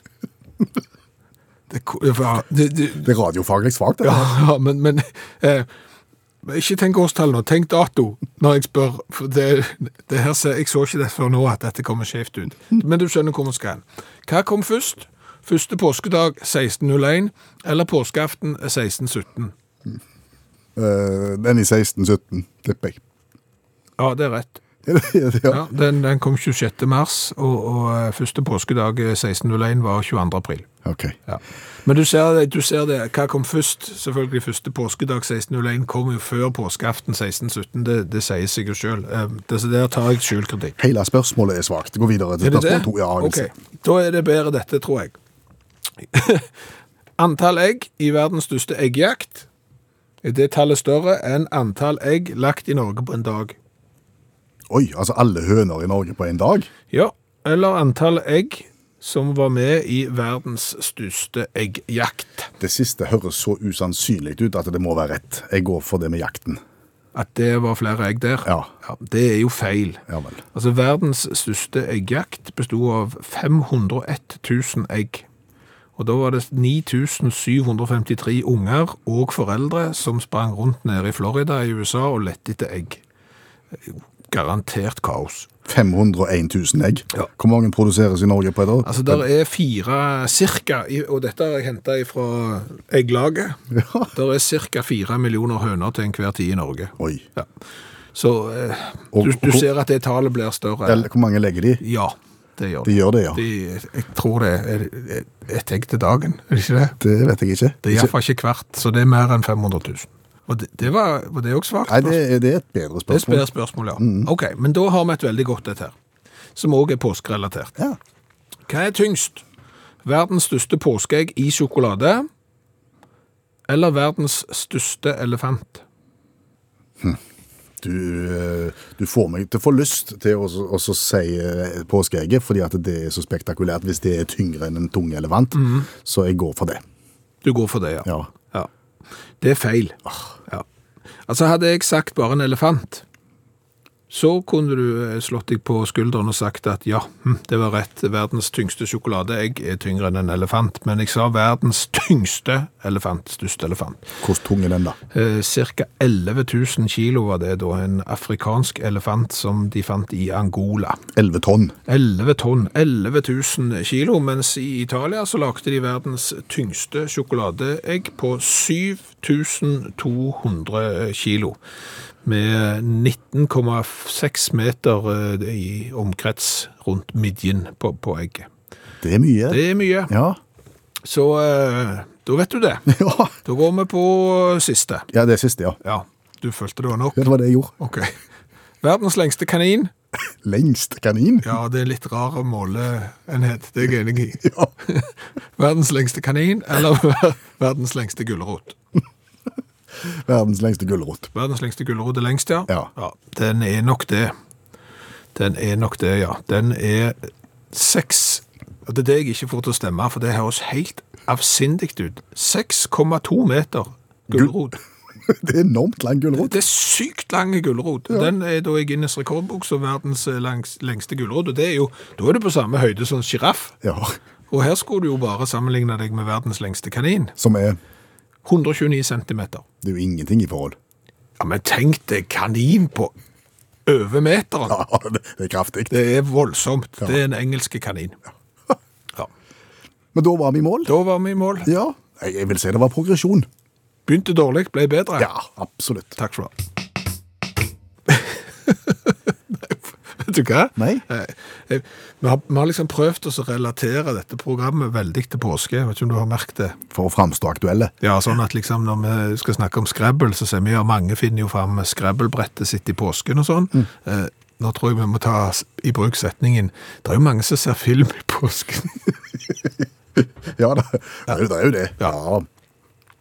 E: Det, ko- ja, det, det,
C: Det er radiofaglig svakt. Ja.
E: Ja, men, men eh, men ikke tenk årstall nå, tenk dato når jeg spør. For det, det her, ser- jeg så ikke det før nå at dette kommer skjevt ut. Men du skjønner hvor vi skal hen. Hva kom først? Første påskedag 1601 eller påskeaften 1617?
C: Eh, den i 1617, tipper jeg.
E: Ja, det er rett.
C: ja.
E: Ja, den, den kom 26. mars, og, og eh, første påskedag eh, 1601 var 22. april.
C: Ok.
E: Ja. Men du ser, det, du ser det, hva kom først? Selvfølgelig første påskedag 1601 kom jo før påskeaften 1617, det, det sier seg jo selv. Eh, Det, så der tar jeg skjult kritikk.
C: Hele spørsmålet er svakt. Gå videre til
E: Er det det?
C: spørsmål to. Ja, jeg vil si.
E: ok, da er det bedre dette, tror jeg. antall egg i verdens største eggjakt, er det tallet større enn antall egg lagt i Norge på en dag?
C: Oi, altså alle høner i Norge på en dag?
E: Ja, eller antall egg som var med i verdens største eggjakt.
C: Det siste høres så usannsynlig ut at det må være rett. Jeg går for det med jakten.
E: At det var flere egg der?
C: Ja.
E: det er jo feil.
C: Ja vel.
E: Altså, verdens største eggjakt bestod av 501 000 egg. Og da var det 9753 unger og foreldre som sprang rundt nede i Florida i USA og lette etter egg. Garantert kaos.
C: 501 000 egg.
E: Ja.
C: Hvor mange produseres i Norge på et år?
E: Altså, der er fire cirka, i- og dette har jeg hentet fra egglaget,
C: Ja.
E: der er cirka fire millioner høner til enhver tid i Norge.
C: Oi.
E: Ja. Så eh,
C: Og-
E: du, du
C: og-
E: ser at det tallet blir
C: Eller,
E: større?
C: hvor mange legger de?
E: Ja, det gjør
C: De
E: det.
C: gjør det, ja.
E: De, jeg tror det er et egg til dagen, er det ikke det?
C: Det vet jeg ikke.
E: Det er
C: Ikke-
E: iallfall ikke hvert, så det er mer enn 500 000. Og det, det var, var det også svakt?
C: Nei, det, er- det er et bedre
E: Det er et
C: spørsmål. Mm.
E: bedre spørsmål, ja. Ok, men da har vi et veldig godt et her, som òg er påskerelatert.
C: Ja.
E: Hva er tyngst? Verdens største påskeegg i sjokolade, eller verdens største elefant?
C: du, eh, du får meg til å få lyst til å så- å så si eh, påskeegget, fordi at det er så spektakulært hvis det er tyngre enn en tung elefant.
E: Mhm.
C: Så jeg går for det.
E: Du går for det, ja.
C: Ja.
E: Ja. Det er feil. Ja. Altså, hadde jeg sagt bare en elefant, så kunne du eh, slått deg på skulderen og sagt at ja, hm, det var rett, verdens tyngste sjokoladeegg er tyngre enn en elefant, men jeg sa verdens tyngste elefant, største elefant.
C: Hvordan tung er den, da?
E: Eh, cirka 11 000 kilo var det da, en afrikansk elefant som de fant i Angola.
C: 11 tonn.
E: 11 tonn, 11 000 kilo, mens i Italia så lagde de verdens tyngste sjokoladeegg på 7200 kilo, med 19,6 meter eh, i omkrets rundt midjen på, på egget.
C: Det er mye.
E: Det er mye,
C: Ja.
E: så eh, da vet du det.
C: ja.
E: Da går vi på siste.
C: Ja, det siste, ja.
E: Ja, du følte det var nok?
C: Ja, Det var det jeg gjorde.
E: Ok. Verdens lengste kanin?
C: Lengst kanin?
E: Ja, det er litt rar måleenhet, det er jeg enig i.
C: Ja.
E: Verdens lengste kanin eller verdens lengste gulrot?
C: Verdens lengste gulrot.
E: Verdens lengste gulrot er lengst, ja.
C: Ja.
E: Den er nok det. Den er nok det, ja. Den er seks og Det er det jeg ikke får til å stemme, for det høres helt avsindig ut. 6,2 meter gulrot.
C: Det er enormt lang gulrot.
E: Det er sykt lang gulrot. Den er da i Guinness rekordbok som verdens eh, langs, lengste gulrot. Og det er jo, da er du på samme høyde som sjiraff.
C: Ja.
E: Og her skulle du jo bare sammenligne deg med verdens lengste kanin.
C: Som er
E: 129 centimeter.
C: Det er jo ingenting i forhold.
E: Ja, men tenk deg kanin på over meteren.
C: Ja, det det er kraftig.
E: Det er voldsomt. Det er en engelske kanin. Ja.
C: Men da var vi i mål.
E: Da var vi i mål.
C: Ja. Jeg jeg vil si det var progresjon.
E: Begynte dårlig, ble bedre.
C: Ja, absolutt.
E: Takk for det. Vet du hva?
C: Nei?
E: Eh, eh, Vi har, vi har liksom prøvd oss å relatere dette programmet veldig til påske. Jeg vet ikke om du har merket det?
C: For å framstå aktuelle.
E: Ja, sånn at liksom når vi skal snakke om Scrabble, så ser vi ja, mange finner jo fram Scrabble-brettet sitt i påsken og sånn. Eh, nå tror jeg vi må ta s- i bruk setningen Det er jo mange som ser film i påsken.
C: Ja, det, det er jo- det er jo det.
E: Ja.
C: Ja.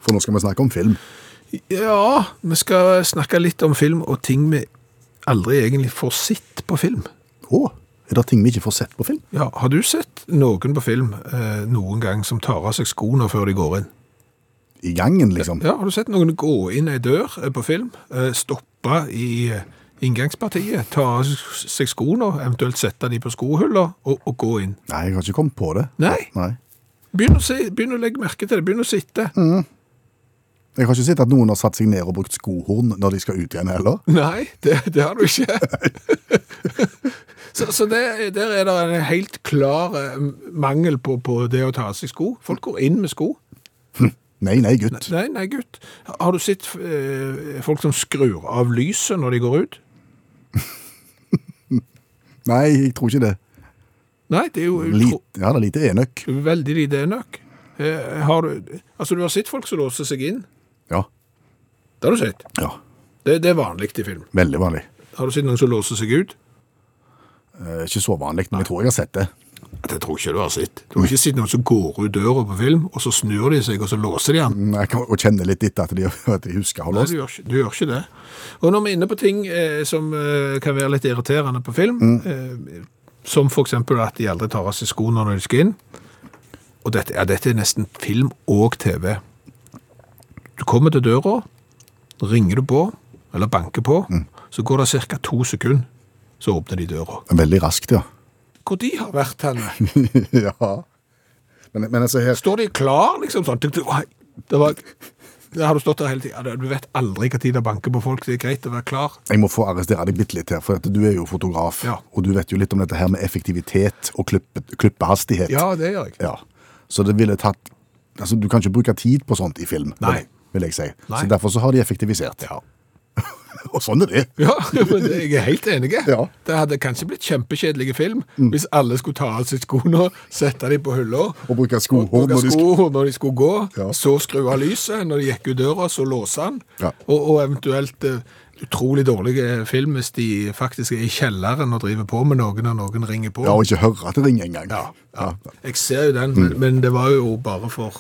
C: For nå skal vi snakke om film.
E: ja, vi skal snakke litt om film og ting vi aldri egentlig får sett på film.
C: Å, er det ting vi ikke får sett på film?
E: Ja, Har du sett noen på film eh, noen gang som tar av seg skoene før de går inn?
C: I gangen, liksom.
E: Ja, Har du sett noen gå inn ei dør eh, på film, eh, stoppe i eh, inngangspartiet, ta av seg skoene, eventuelt sette de på skohuller og, og gå inn?
C: Nei, jeg har ikke kommet på det.
E: Nei.
C: Nei.
E: Begynn å, se, begynn å legge merke til det, begynn å sitte.
C: Jeg har ikke sett at noen har satt seg ned og brukt skohorn når de skal ut igjen heller.
E: Nei, det, det har du ikke. så så det, der er det en helt klar eh, mangel på, på det å ta av seg sko. Folk går inn med sko.
C: Nei, nei, gutt.
E: Nei, nei, gutt. Har du sett eh, folk som skrur av lyset når de går ut?
C: Nei, jeg tror ikke det.
E: Nei, det er jo utro...
C: Lite, ja, det er lite enøk.
E: Veldig lite enøk. Eh, Har du, altså, du har sett folk som låser seg inn.
C: Ja.
E: Det har du sett.
C: ja.
E: Det, det er vanlig i film.
C: Veldig vanlig.
E: Har du sett noen som låser seg ut?
C: Eh, ikke så vanlig, men jeg tror jeg har sett det.
E: Det tror jeg ikke du har sett. Du har ikke sett noen som går ut døra på film, og så snur de seg, og så låser de den.
C: Mm, Jeg kan, og kjenner litt etter at de, at de husker å ha
E: Nei,
C: låst.
E: du gjør, ikke, du gjør ikke det. Og når vi er inne på ting eh, som eh, kan være litt irriterende på film, eh, som for eksempel at de aldri tar av seg skoene når de skal inn, og dette, ja, dette er nesten film og TV. Du kommer til døra, ringer du på, eller banker på, så går det cirka to sekunder, så åpner de døra.
C: Veldig raskt, ja.
E: Hvor de har vært henne?
C: ja. Men, men altså her
E: Står de klar, liksom sånn? tuk, tuk, oi. Det var... Det har du stått der hele tiden. Ja, Du vet aldri hva tid det banker på folk. Det er greit å være klar.
C: Jeg må få arrestere deg bitte litt her, for at du er jo fotograf.
E: Ja.
C: Og du vet jo litt om dette her med effektivitet og klippe, klippehastighet.
E: Ja, det gjør jeg.
C: Ja. Så det ville tatt Altså, du kan ikke bruke tid på sånt i film,
E: Nei.
C: vil jeg si.
E: Nei.
C: Så derfor så har de effektivisert. og sånn er det.
E: Ja, men det- jeg er helt enig.
C: Ja. Mm.
E: Det hadde kanskje blitt kjempekjedelige film hvis alle skulle ta av seg skoene, sette dem på hylla,
C: Å bruke
E: bruke
C: skohorn når de skal
E: sko når de skulle gå,
C: Ja.
E: så skru av lyset når de gikk ut døra, så låse den,
C: Ja.
E: og, og eventuelt eh, utrolig dårlige film hvis de faktisk er i kjelleren og driver på med noen, og noen ringer på.
C: Ja, og ikke høre at det ringer engang.
E: Ja, ja. Jeg ser jo den,
C: Mm.
E: men, men det var jo bare for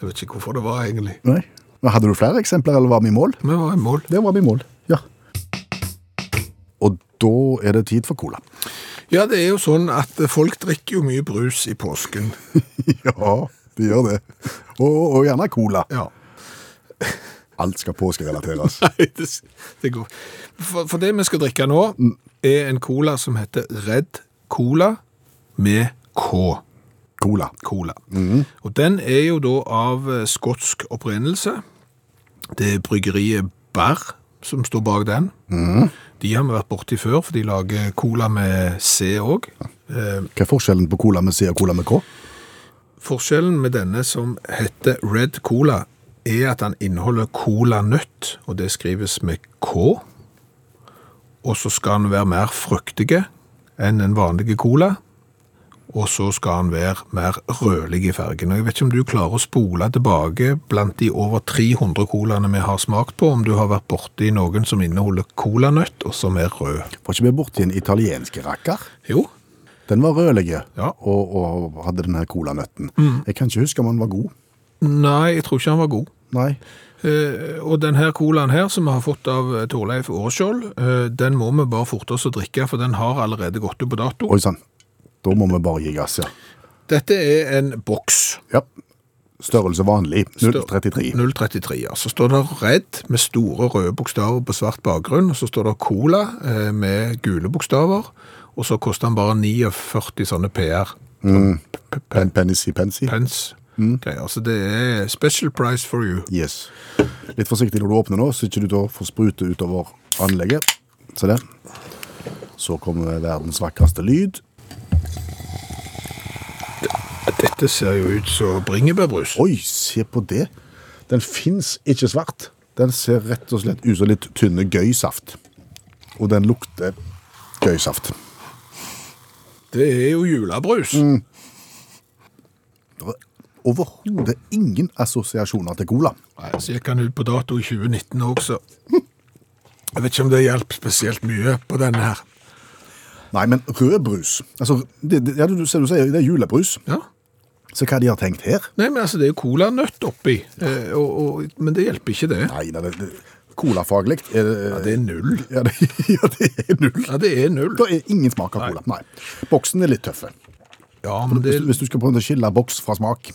E: Jeg vet ikke hvorfor det var, egentlig.
C: Nei. Men hadde du flere eksempler, eller var vi i mål?
E: Vi var i mål.
C: Det var vi i mål. Ja. Og da er det tid for cola.
E: Ja, det er jo sånn at folk drikker jo mye brus i påsken.
C: ja, de gjør det. Og, og gjerne cola.
E: Ja.
C: Alt skal påskerelateres.
E: Nei, det, s- det går. For, for det vi skal drikke nå, er en cola som heter Red Cola med K.
C: Cola.
E: Cola. Og den er jo da av eh, skotsk opprinnelse. Det er bryggeriet Barr som står bak den. De har vi vært borti før, for de lager cola med C Eh, òg.
C: Hva er forskjellen på cola med C og cola med K?
E: Forskjellen med denne som heter Red Cola, er at den inneholder colanøtt, og det skrives med K. Og så skal den være mer fruktige enn en vanlig cola. Og så skal den være mer rødlig i fargen. Og Jeg vet ikke om du klarer å spole tilbake blant de over 300 colaene vi har smakt på, om du har vært borti noen som inneholder colanøtt, og som er rød.
C: Var ikke vi borti en italiensk rakker?
E: Jo,
C: Den var rødlig
E: Ja.
C: og, og hadde den her colanøtten. Jeg kan ikke huske om den var god.
E: nei, jeg tror ikke han var god.
C: Nei.
E: Eh, Og denne colaen her, som vi har fått av eh, Torleif Åreskjold, eh, den må vi bare forte oss å drikke, for den har allerede gått ut på dato.
C: Oi sann. Da må vi bare gi gass, ja.
E: Dette er en boks.
C: ja. Størrelse vanlig.
E: Stør-
C: 033.
E: 033, ja. Så står det Red med store røde bokstaver på svart bakgrunn, og så står det Cola eh, med gule bokstaver, og så koster den bare 49 sånne PR.
C: Mm.
E: P- p-
C: Pen, penisi, pensi.
E: Pence.
C: Mm.
E: Greier. Så det er special price for you.
C: Yes. Litt forsiktig når du åpner nå, så ikke du da får sprute utover anlegget. Se der. Så kommer verdens vakreste lyd.
E: Dette ser jo ut som bringebærbrus.
C: Oi, se på det! Den fins ikke svart. Den ser rett og slett ut som litt tynne gøysaft. Og den lukter gøysaft.
E: Det er jo julebrus.
C: Mm. Det er Overhodet ingen assosiasjoner til cola.
E: Nei, altså, så gikk han ut på dato i 2019 også. Jeg vet ikke om det hjelper spesielt mye på denne her.
C: Nei, men rød brus altså, det, det, ja, du, du, ser du sier, det er julebrus.
E: Ja.
C: Se hva de har tenkt her.
E: Nei, men altså, det er jo colanøtt oppi, eh, og, og, men det hjelper ikke det.
C: Nei, nei, det, det, colafaglig er
E: Ja, det er null.
C: Ja, det, ja, det er null.
E: Ja, det er null.
C: Det er ingen smak av cola. Nei. Boksen er litt tøffe.
E: Ja, men det
C: Hvis, du- hvis du skal prøve å skille boks fra smak,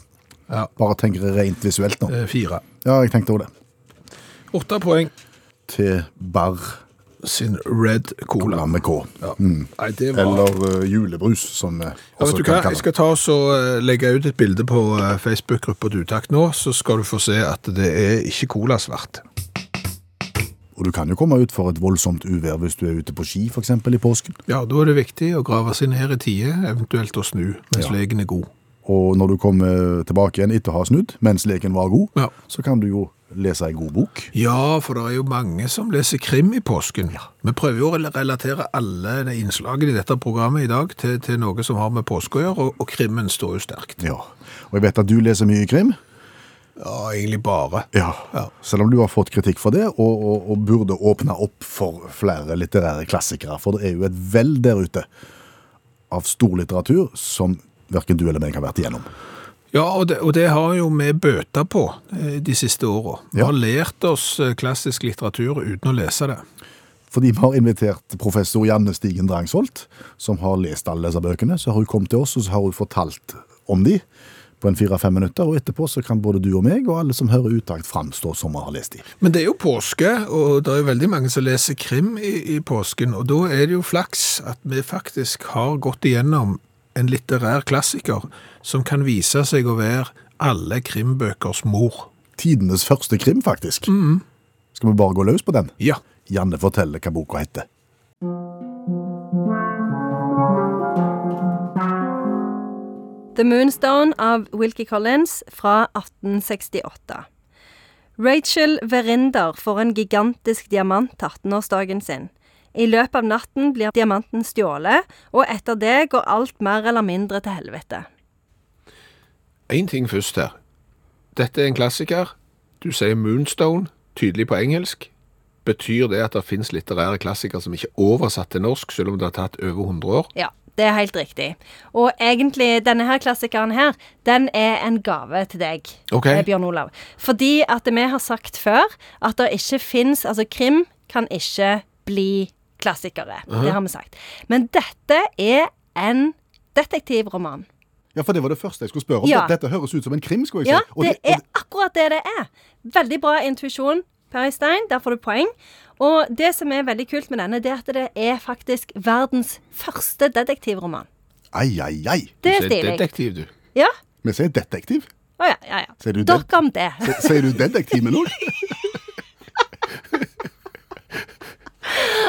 E: Ja. Eh.
C: bare tenk rent visuelt nå.
E: er fire.
C: Ja, jeg tenkte over det.
E: Åtte poeng
C: Til bar
E: sin Red Cola.
C: cola med K.
E: Ja. Nei, det var...
C: Eller eh, julebrus, som vi
E: Ja,
C: også
E: vet du hva?
C: kan kalle
E: Jeg
C: det.
E: skal ta og så, eh, legge ut et bilde på eh, Facebook-gruppa Dutakt nå, så skal du få se at det er ikke colasvart.
C: Og du kan jo komme ut for et voldsomt uvær hvis du er ute på ski, f.eks. i påsken.
E: Ja, da er det viktig å grave seg ned i tide, eventuelt å snu mens legen er god.
C: Og når du kommer tilbake igjen etter å ha snudd, mens leken var god,
E: Ja.
C: så kan du jo lese ei god bok.
E: Ja, for det er jo mange som leser krim i påsken. Vi prøver jo å relatere alle de innslagene i dette programmet i dag til, til noe som har med påske å gjøre, og, og krimmen står jo sterkt.
C: Ja. Og jeg vet at du leser mye krim.
E: Ja, egentlig bare.
C: Ja.
E: Ja.
C: Selv om du har fått kritikk for det, og, og, og burde åpne opp for flere litterære klassikere. For det er jo et vell der ute av stor litteratur som verken du eller meg har vært igjennom.
E: Ja, og det, og det har jo vi bøta på eh, de siste årene. Vi
C: Ja.
E: har lært oss eh, klassisk litteratur uten å lese det.
C: Fordi vi har invitert professor Janne Stigen Drangsholt, som har lest alle disse bøkene. Så har hun kommet til oss, og så har hun fortalt om de på en fire-fem minutter. Og etterpå så kan både du og meg og alle som hører utakt, framstå som vi har lest de.
E: Men det er jo påske, og det er jo veldig mange som leser krim i, i påsken, og da er det jo flaks at vi faktisk har gått igjennom en litterær klassiker som kan vise seg å være alle krimbøkers mor.
C: Tidenes første krim, faktisk. Skal vi bare gå løs på den?
E: Ja.
C: Janne forteller hva boka heter.
H: The Moonstone av Wilkie Collins fra 1868. Rachel Verinder får en gigantisk diamant til 18-årsdagen sin. I løpet av natten blir diamanten stjålet, og etter det går alt mer eller mindre til helvete.
E: Én ting først her. Dette er en klassiker. Du sier Moonstone, tydelig på engelsk. Betyr det at det finnes litterære klassikere som ikke er oversatt til norsk, selv om det har tatt over 100 år?
H: Ja, det er helt riktig. Og egentlig, denne her klassikeren her, den er en gave til deg,
E: Ok.
H: eh, Bjørn Olav. Fordi at vi har sagt før at det ikke fins Altså, krim kan ikke bli klassikere. Det har vi sagt. Men dette er en detektivroman.
C: Ja, for det var det første jeg skulle spørre om.
H: Ja.
C: Dette høres ut som en krim, skulle jeg
H: Ja,
C: si. Og
H: det
C: og
H: er akkurat det det er. Veldig bra intuisjon, Per Øystein. Der får du poeng. Og det som er veldig kult med denne, det er at det er faktisk verdens første detektivroman.
C: Ai, ai, ai.
H: Det er
E: Så
H: stilig.
E: Detektiv, du.
H: Ja.
C: Vi sier detektiv.
H: Å ja, ja, ja.
C: Ser du det?
H: Dere om det.
C: Sier du detektiv med noe?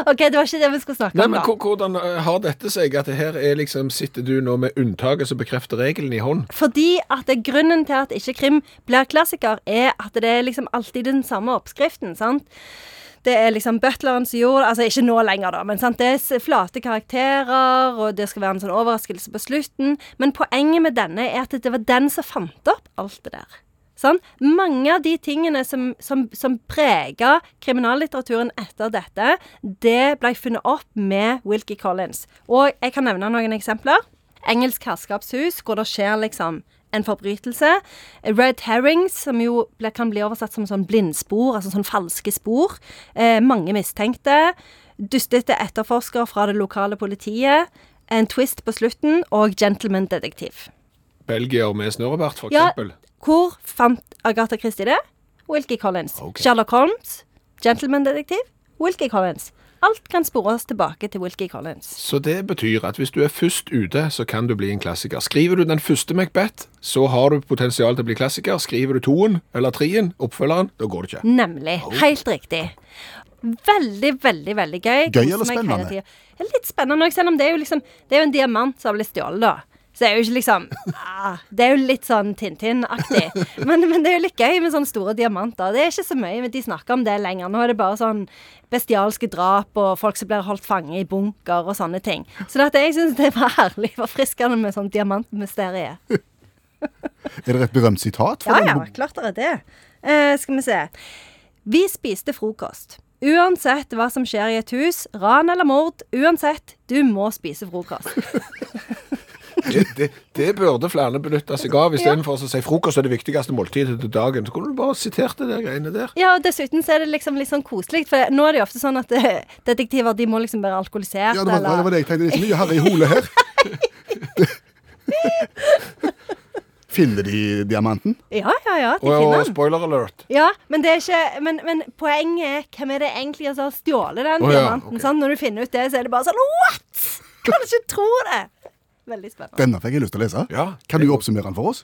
H: OK, det var ikke det vi skulle snakke
E: Nei,
H: om,
E: men
H: da.
E: hvor- Hvordan eh, har dette seg? At det her er liksom Sitter du nå med unntaket som bekrefter regelen i hånd?
H: Fordi at det, grunnen til at ikke krim blir klassiker, er at det er liksom alltid den samme oppskriften, sant? Det er liksom butleren som gjorde det, altså ikke nå lenger da, men sant? det er s- flate karakterer, og det skal være en sånn overraskelse på slutten. Men poenget med denne er at det var den som fant opp alt det der. Sant? Mange av de tingene som, som, som prega kriminallitteraturen etter dette, det ble funnet opp med Wilkie Collins. Og jeg kan nevne noen eksempler. Engelsk herskapshus, hvor det skjer liksom en forbrytelse. Red herrings, som jo ble, kan bli oversatt som sånn blindspor, altså sånn falske spor. Eh, mange mistenkte. Dustete etterforsker fra det lokale politiet. En twist på slutten, og gentleman-detektiv.
E: Belgier med snørrebart, for
H: Ja,
E: eksempel.
H: hvor fant Agatha Christie det? Wilkie Collins.
E: Ok.
H: Sherlock Holmes, gentleman-detektiv, Wilkie Collins. Alt kan spores tilbake til Wilkie Collins.
E: Så det betyr at hvis du er først ute, så kan du bli en klassiker. Skriver du den første Macbeth, så har du potensial til å bli klassiker. Skriver du toen eller treen, oppfølgeren, da går det ikke.
H: Nemlig. Helt riktig. Veldig, veldig veldig gøy.
C: Gøy
H: Koser
C: eller
H: meg hele
C: spennende?
H: tiden. Det er litt spennende òg, selv om det er jo liksom Det er jo en diamant som har blitt stjålet, da. Så det er jo ikke liksom ah, Det er jo litt sånn Tintin-aktig. Men, men det er jo litt gøy med sånne store diamanter. Det er ikke så mye men de snakker om det lenger. Nå er det bare sånn bestialske drap og folk som blir holdt fange i bunker og sånne ting. Så det at jeg syns det var herlig forfriskende med sånn diamantmysteriet.
C: Er det et berømt sitat? fra
H: Ja,
C: den
H: ja,
C: boken?
H: klart det er det. Eh, skal vi se. Vi spiste frokost. Uansett hva som skjer i et hus, ran eller mord, uansett, du må spise frokost.
E: Det, det, det burde flere benytte seg av, istedenfor å si frokost er det viktigste måltidet til dagen. Så kunne du bare sitert det der greiene der.
H: Ja, og dessuten så er det liksom litt sånn koselig, for nå er det jo ofte sånn at eh, detektiver de må liksom være alkoholisert,
C: Ja, det var, det var
H: eller
C: det jeg tenkte. Det er ikke mye herre i hole her. Finner de diamanten?
H: Ja, ja, ja, de
E: Og,
H: finner
E: og
H: den.
E: spoiler alert.
H: Ja, men, det er ikke, men, men poenget er hvem er det egentlig som har stjålet den
E: Å, ja,
H: diamanten?
E: ok.
H: sant? Når du finner ut det, så er det bare sånn What?! Kan ikke tro det! Veldig spennende.
C: Denne fikk jeg lyst til å lese.
E: Ja,
C: kan du oppsummere den for oss?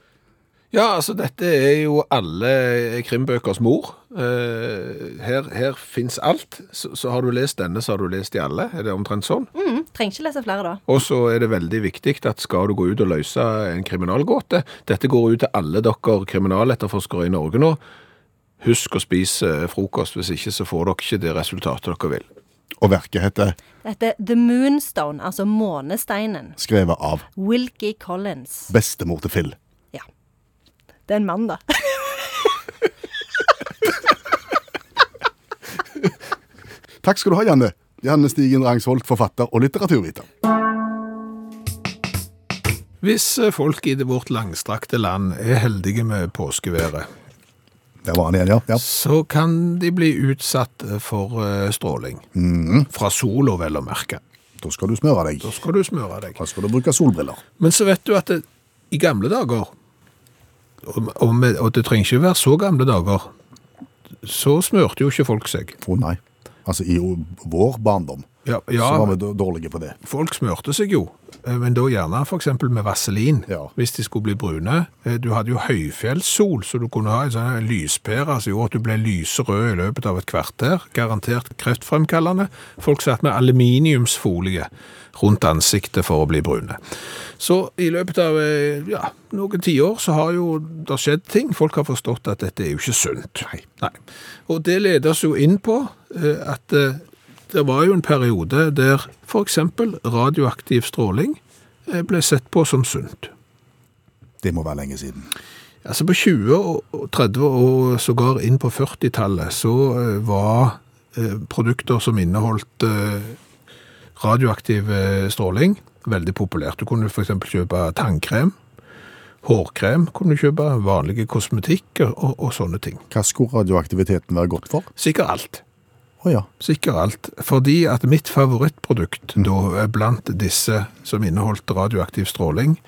E: Ja, altså dette er jo alle krimbøkers mor. Eh, her her fins alt. Så, så har du lest denne, så har du lest de alle. Er det omtrent sånn?
H: Mm, trenger ikke lese flere da.
E: Og så er det veldig viktig at skal du gå ut og løse en kriminalgåte Dette går ut til alle dere kriminaletterforskere i Norge nå. Husk å spise eh, frokost, hvis ikke så får dere ikke det resultatet dere vil.
C: Og verket heter
H: Dette er The Moonstone, altså månesteinen.
C: Skrevet av
H: Wilkie Collins.
C: bestemor til Phil.
H: Ja. Det er en mann, da.
C: Takk skal du ha, Janne. Janne Stigen Rangsholt, forfatter og litteraturviter.
E: Hvis eh, folk i det vårt langstrakte land er heldige med påskeværet,
C: Der var han igjen, ja. ja.
E: så kan de bli utsatt for eh, stråling. Fra sola, vel å merke.
C: Da skal du smøre deg.
E: Da skal du smøre deg.
C: Da skal du bruke solbriller.
E: Men så vet du at det, i gamle dager, og, og, med, og det trenger ikke være så gamle dager, så smørte jo ikke folk seg.
C: Å nei. Altså, i o- vår barndom
E: Ja,
C: så var
E: ja
C: vi d- dårlige på det.
E: folk smørte seg jo, eh, men da gjerne for eksempel med vaselin,
C: Ja.
E: hvis de skulle bli brune. Eh, Du hadde jo høyfjellssol, så du kunne ha en sånn lyspære som gjorde at du ble lyserød i løpet av et kvarter, garantert kreftfremkallende. Folk satt med aluminiumsfolie rundt ansiktet for å bli brune. Så i løpet av eh, ja, noen tiår så har jo det skjedd ting. Folk har forstått at dette er jo ikke sunt. Nei. Og det leder oss jo inn på eh, at eh, det var jo en periode der f.eks. radioaktiv stråling eh, ble sett på som sunt.
C: Det må være lenge siden.
E: Altså På 20- og og 30- og sågar inn på 40-tallet så eh, var eh, produkter som inneholdt eh, radioaktiv eh, stråling veldig populært. Du kunne f.eks. kjøpe tannkrem, hårkrem, kunne du kjøpe vanlige kosmetikk og, og sånne ting.
C: Hva skulle radioaktiviteten være godt for?
E: Sikkert alt.
C: Å Å ja.
E: Sikkert alt. Fordi at mitt favorittprodukt da, eh, blant disse som inneholdt radioaktiv stråling,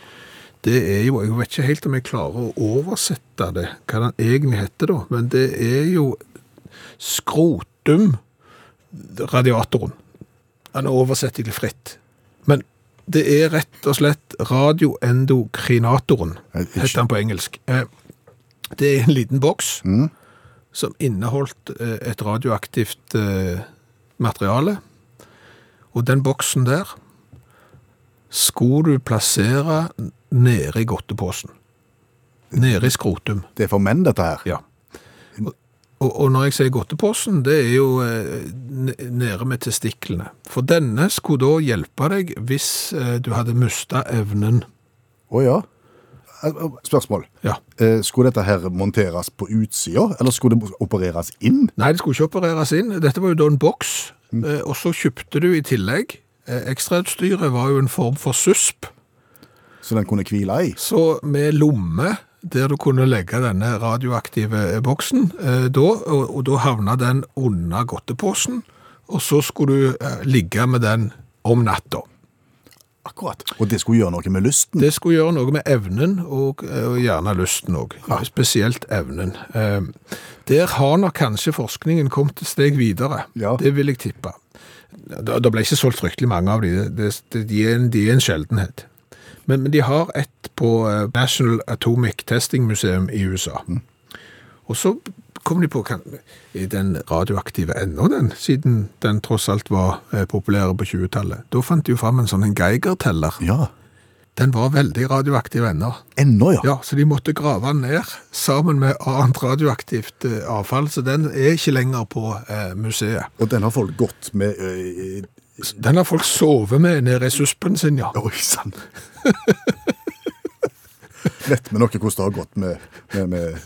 E: det er jo Jeg vet ikke helt om jeg klarer å oversette det, hva den egentlig heter da, men det er jo skrotum-radiatoren. Den er oversett til fritt. Men det er rett og slett radioendokrinatoren,
C: Jeg- jeg-
E: heter den på engelsk. Eh, Det er en liten boks
C: Mm,
E: som inneholdt eh, et radioaktivt eh, materiale. Og den boksen der skulle du plassere nede i godteposen. Nede i skrotum.
C: Det er for menn, dette her.
E: Ja. Og, og når jeg sier godteposen, det er jo eh, n- nede med testiklene. For denne skulle da hjelpe deg hvis eh, du hadde mista evnen.
C: Å ja. Eh, eh, Spørsmål.
E: Ja.
C: Eh, Skulle dette her monteres på utsida, eller skulle det opereres inn?
E: Nei, det skulle ikke opereres inn. Dette var jo da en boks, eh, og så kjøpte du i tillegg. eh, Ekstrautstyret var jo en form for susp,
C: Så den kunne hvile i?
E: så med lomme der du kunne legge denne radioaktive eh, boksen, eh, da, og, og da havna den under godteposen, og så skulle du eh, ligge med den om natta.
C: Akkurat. Og det skulle gjøre noe med lysten?
E: Det skulle gjøre noe med evnen, og, og gjerne lysten òg. Spesielt evnen. Ehm, Der har nok kanskje forskningen kommet et steg videre.
C: Ja.
E: Det vil jeg tippe. Det det ble ikke solgt fryktelig mange av de. Det- det- De er en, de er en sjeldenhet. Men, men de har ett på eh, National Atomic Testing Museum i USA.
C: Mm.
E: Og så kom de på kan, Er den radioaktive ennå, den? Siden den tross alt var eh, populær på 20-tallet. Da fant de jo fram en sånn en Geiger-teller.
C: Ja.
E: Den var veldig radioaktiv ennå.
C: Ennå, ja.
E: Ja, så de måtte grave den ned sammen med annet radioaktivt eh, avfall, så den er ikke lenger på eh, museet.
C: Og den har folk gått med eh,
E: Den har folk sovet med nede i suspen sin, ja.
C: Oi sann! Vet vi noe hvordan det har gått med, med, med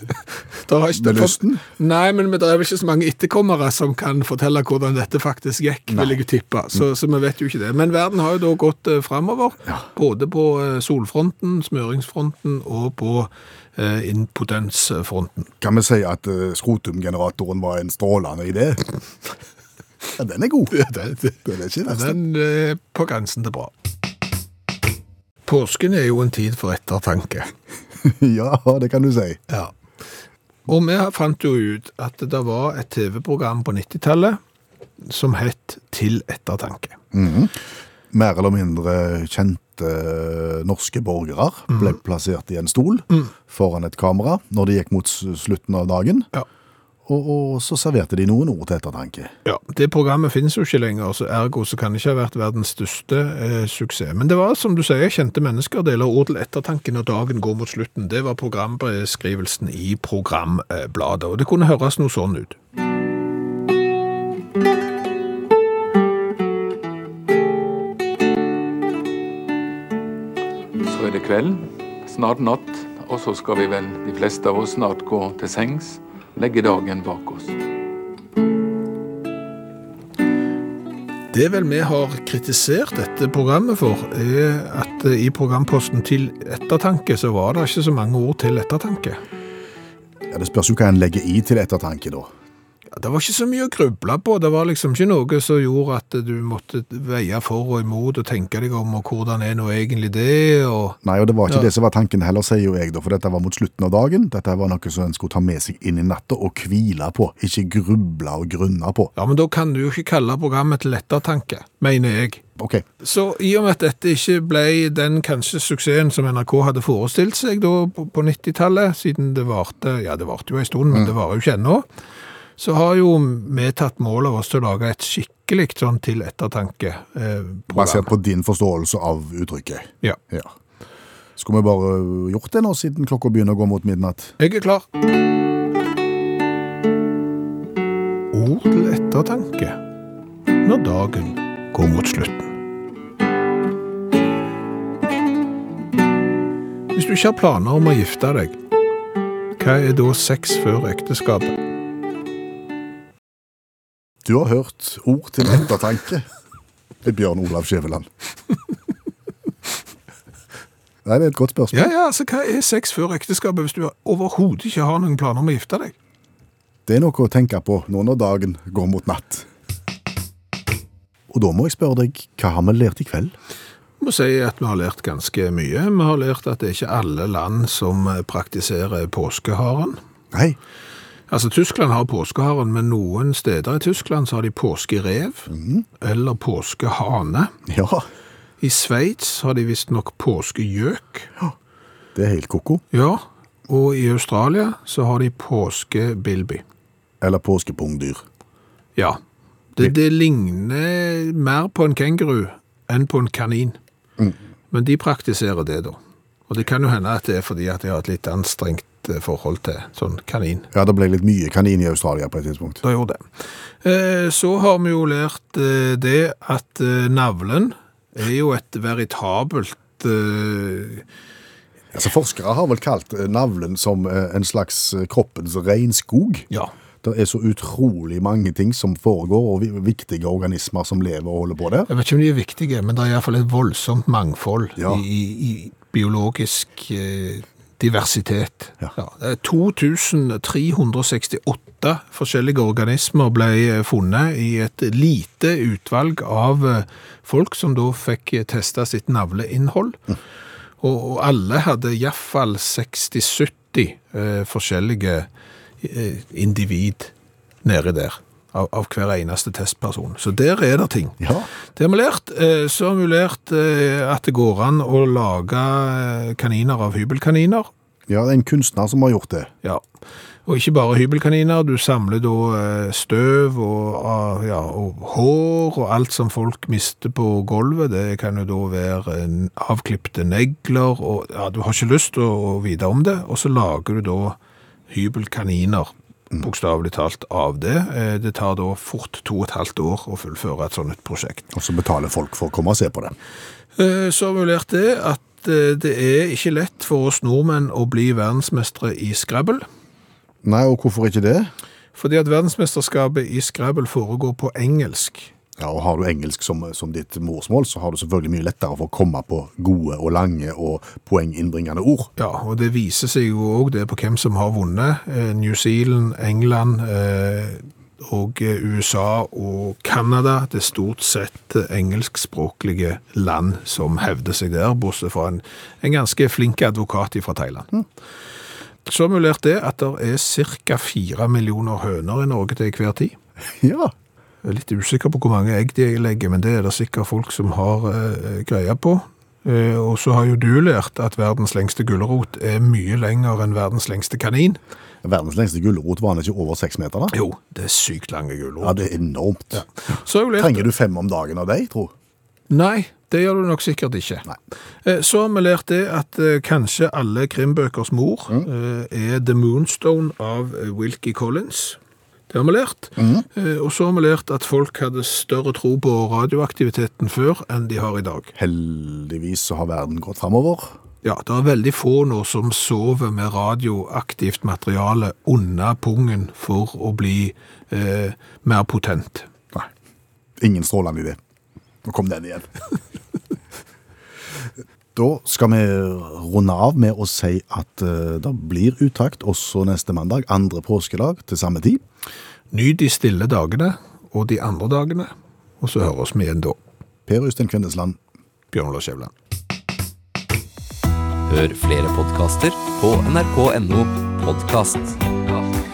E: Der har ikke-
C: Med lysten?
E: Nei, men det er vel ikke så mange etterkommere som kan fortelle hvordan dette faktisk gikk, vil jeg tippe. Så, så vi vet jo ikke det. Men verden har jo da gått eh, framover, både på eh, solfronten, smøringsfronten og på eh, impotensfronten.
C: Kan vi si at eh, skrotumgeneratoren var en strålende idé? Ja, den er god.
E: det,
C: Den er ikke verst.
E: Den er på grensen til bra. Påsken er jo en tid for ettertanke.
C: Ja, det kan du si.
E: Ja. Og vi fant jo ut at det var et TV-program på 90-tallet som het Til ettertanke.
C: Mer eller mindre kjente eh, norske borgere
E: Mhm.
C: ble plassert i en stol foran et kamera når de gikk mot s- slutten av dagen.
E: Ja.
C: Og, og så serverte de noen ord til ettertanke.
E: Ja, Det programmet finnes jo ikke lenger, så ergo så kan det ikke ha vært verdens største eh, suksess. Men det var, som du sier, kjente mennesker deler ord til ettertanke når dagen går mot slutten. Det var programbeskrivelsen i programbladet, og det kunne høres noe sånn ut.
I: Så er det kveld, snart natt, og så skal vi vel, de fleste av oss, snart gå til sengs, legge dagen bak oss.
E: Det vel vi har kritisert dette programmet for, er at i programposten til ettertanke, så var det ikke så mange ord til ettertanke.
C: Ja, det spørs jo hva en legger i til ettertanke, da.
E: Ja, Det var ikke så mye å gruble på, det var liksom ikke noe som gjorde at du måtte veie for og imot og tenke deg om, og hvordan er nå egentlig det, og
C: Nei, og det var ikke
E: Ja.
C: det som var tanken heller, sier jo jeg, da, for dette var mot slutten av dagen. Dette var noe som en skulle ta med seg inn i natta og hvile på, ikke gruble og grunne på.
E: Ja, men da kan du jo ikke kalle programmet til ettertanke, mener jeg.
C: Ok,
E: Så i og med at dette ikke ble den kanskje suksessen som NRK hadde forestilt seg da på på 90-tallet, siden det varte, ja det varte jo en stund, men det varer jo ikke ennå, så har jo vi tatt mål av oss til å lage et skikkelig sånn til ettertanke. Eh,
C: basert
E: program.
C: på din forståelse av uttrykket.
E: Ja.
C: Ja. Skulle vi bare gjort det nå, siden klokka begynner å gå mot midnatt?
E: Jeg er klar. Ord til ettertanke når dagen går mot slutten. Hvis du ikke har planer om å gifte deg, hva er da sex før ekteskapet?
C: Du har hørt ord til ettertanke. Det er Bjørn Olav Skjæveland. Nei, det er et godt spørsmål.
E: Ja, ja, altså hva er sex før ekteskapet hvis du overhodet ikke har noen planer om å gifte deg?
C: Det er noe å tenke på nå når dagen går mot natt. Og da må jeg spørre deg, hva har vi lært i kveld?
E: Jeg må si at vi har lært ganske mye. Vi har lært at det er ikke alle land som praktiserer påskeharen.
C: Nei,
E: Altså, Tyskland har påskeharen, men noen steder i Tyskland så har de påskerev eller påskehane.
C: ja,
E: I Sveits har de visstnok påskegjøk.
C: det er helt koko.
E: Ja, og i Australia så har de påskebilby.
C: Eller påskepungdyr.
E: Ja. Det, det ligner mer på en kenguru enn på en kanin. Mm. Men de praktiserer det, da. Og det kan jo hende at det er fordi at de har et litt anstrengt eh, forhold til sånn kanin.
C: Ja, det ble litt mye kanin i Australia på et tidspunkt.
E: Da gjorde det. Eh, Så har vi jo lært eh, det at eh, navlen er jo et veritabelt eh,
C: Altså, forskere har vel kalt eh, navlen som eh, en slags eh, kroppens regnskog.
E: Ja.
C: Det er så utrolig mange ting som foregår, og vi- viktige organismer som lever og holder på der.
E: Jeg vet ikke om de er viktige, men det er iallfall et voldsomt mangfold
C: Ja.
E: i, i, i biologisk eh, diversitet.
C: Ja.
E: det er 2368 forskjellige organismer ble eh, funnet i et lite utvalg av eh, folk som da fikk eh, testa sitt navleinnhold.
C: Mm.
E: Og, og alle hadde iallfall 60-70 eh, forskjellige eh, individ nedi der. Av, av hver eneste testperson. Så der er det ting.
C: Ja.
E: Det har vi lært. Eh, Så har vi lært eh, at det går an å lage eh, kaniner av hybelkaniner.
C: Ja, det er en kunstner som har gjort det.
E: Ja. Og ikke bare hybelkaniner, du samler da eh, støv og, ah, ja, og hår og alt som folk mister på gulvet. Det kan jo da være eh, avklipte negler, og ja, du har ikke lyst til å vite om det. Og så lager du da hybelkaniner, bokstavelig talt, av det. Eh, Det tar da fort to og et halvt år å fullføre et sånt et prosjekt.
C: Og så betaler folk for å komme og se på det.
E: Eh, Så har vi lært det at eh, det er ikke lett for oss nordmenn å bli verdensmestre i Scrabble.
C: Nei, og hvorfor ikke det?
E: Fordi at verdensmesterskapet i Scrabble foregår på engelsk.
C: Ja, og Har du engelsk som, som ditt morsmål, så har du selvfølgelig mye lettere for å komme på gode og lange og poenginnbringende ord.
E: Ja, og det viser seg jo òg det på hvem som har vunnet. Eh, New Zealand, England eh, og eh, USA og Canada. Det er stort sett eh, engelskspråklige land som hevder seg der, bortsett fra en, en ganske flink advokat fra Thailand. Så har vi lært det at det er ca. fire millioner høner i Norge til hver tid.
C: Ja,
E: Jeg er litt usikker på hvor mange egg de legger, men det er det sikkert folk som har eh, greie på. Eh, og så har jo du lært at verdens lengste gulrot er mye lenger enn verdens lengste kanin.
C: Verdens lengste gulrot var den ikke over seks meter, da?
E: Jo, det er sykt lange
C: Ja,
E: gulrot.
C: det er enormt.
E: Så har jeg jo lært
C: Trenger du fem om dagen av deg, tro?
E: Nei, det gjør du nok sikkert ikke. Eh, Så har vi lært det at eh, kanskje alle krimbøkers mor eh, er The Moonstone av eh, Wilkie Collins. Det har vi lært. Eh, Og så har vi lært at folk hadde større tro på radioaktiviteten før enn de har i dag.
C: Heldigvis så har verden gått framover.
E: Ja, det er veldig få nå som sover med radioaktivt materiale under pungen for å bli eh, mer potent.
C: Nei. Ingen strålende idé. Nå kom den igjen. da skal vi runde av med å si at eh, det blir utakt også neste mandag, andre påskedag, til samme tid.
E: Ny de stille dagene og de andre dagene, og så høres vi igjen da,
C: Per Øystein Kvindesland.
E: Bjørn Lars Skjævland.
A: Hør flere podkaster på nrk.no podkast.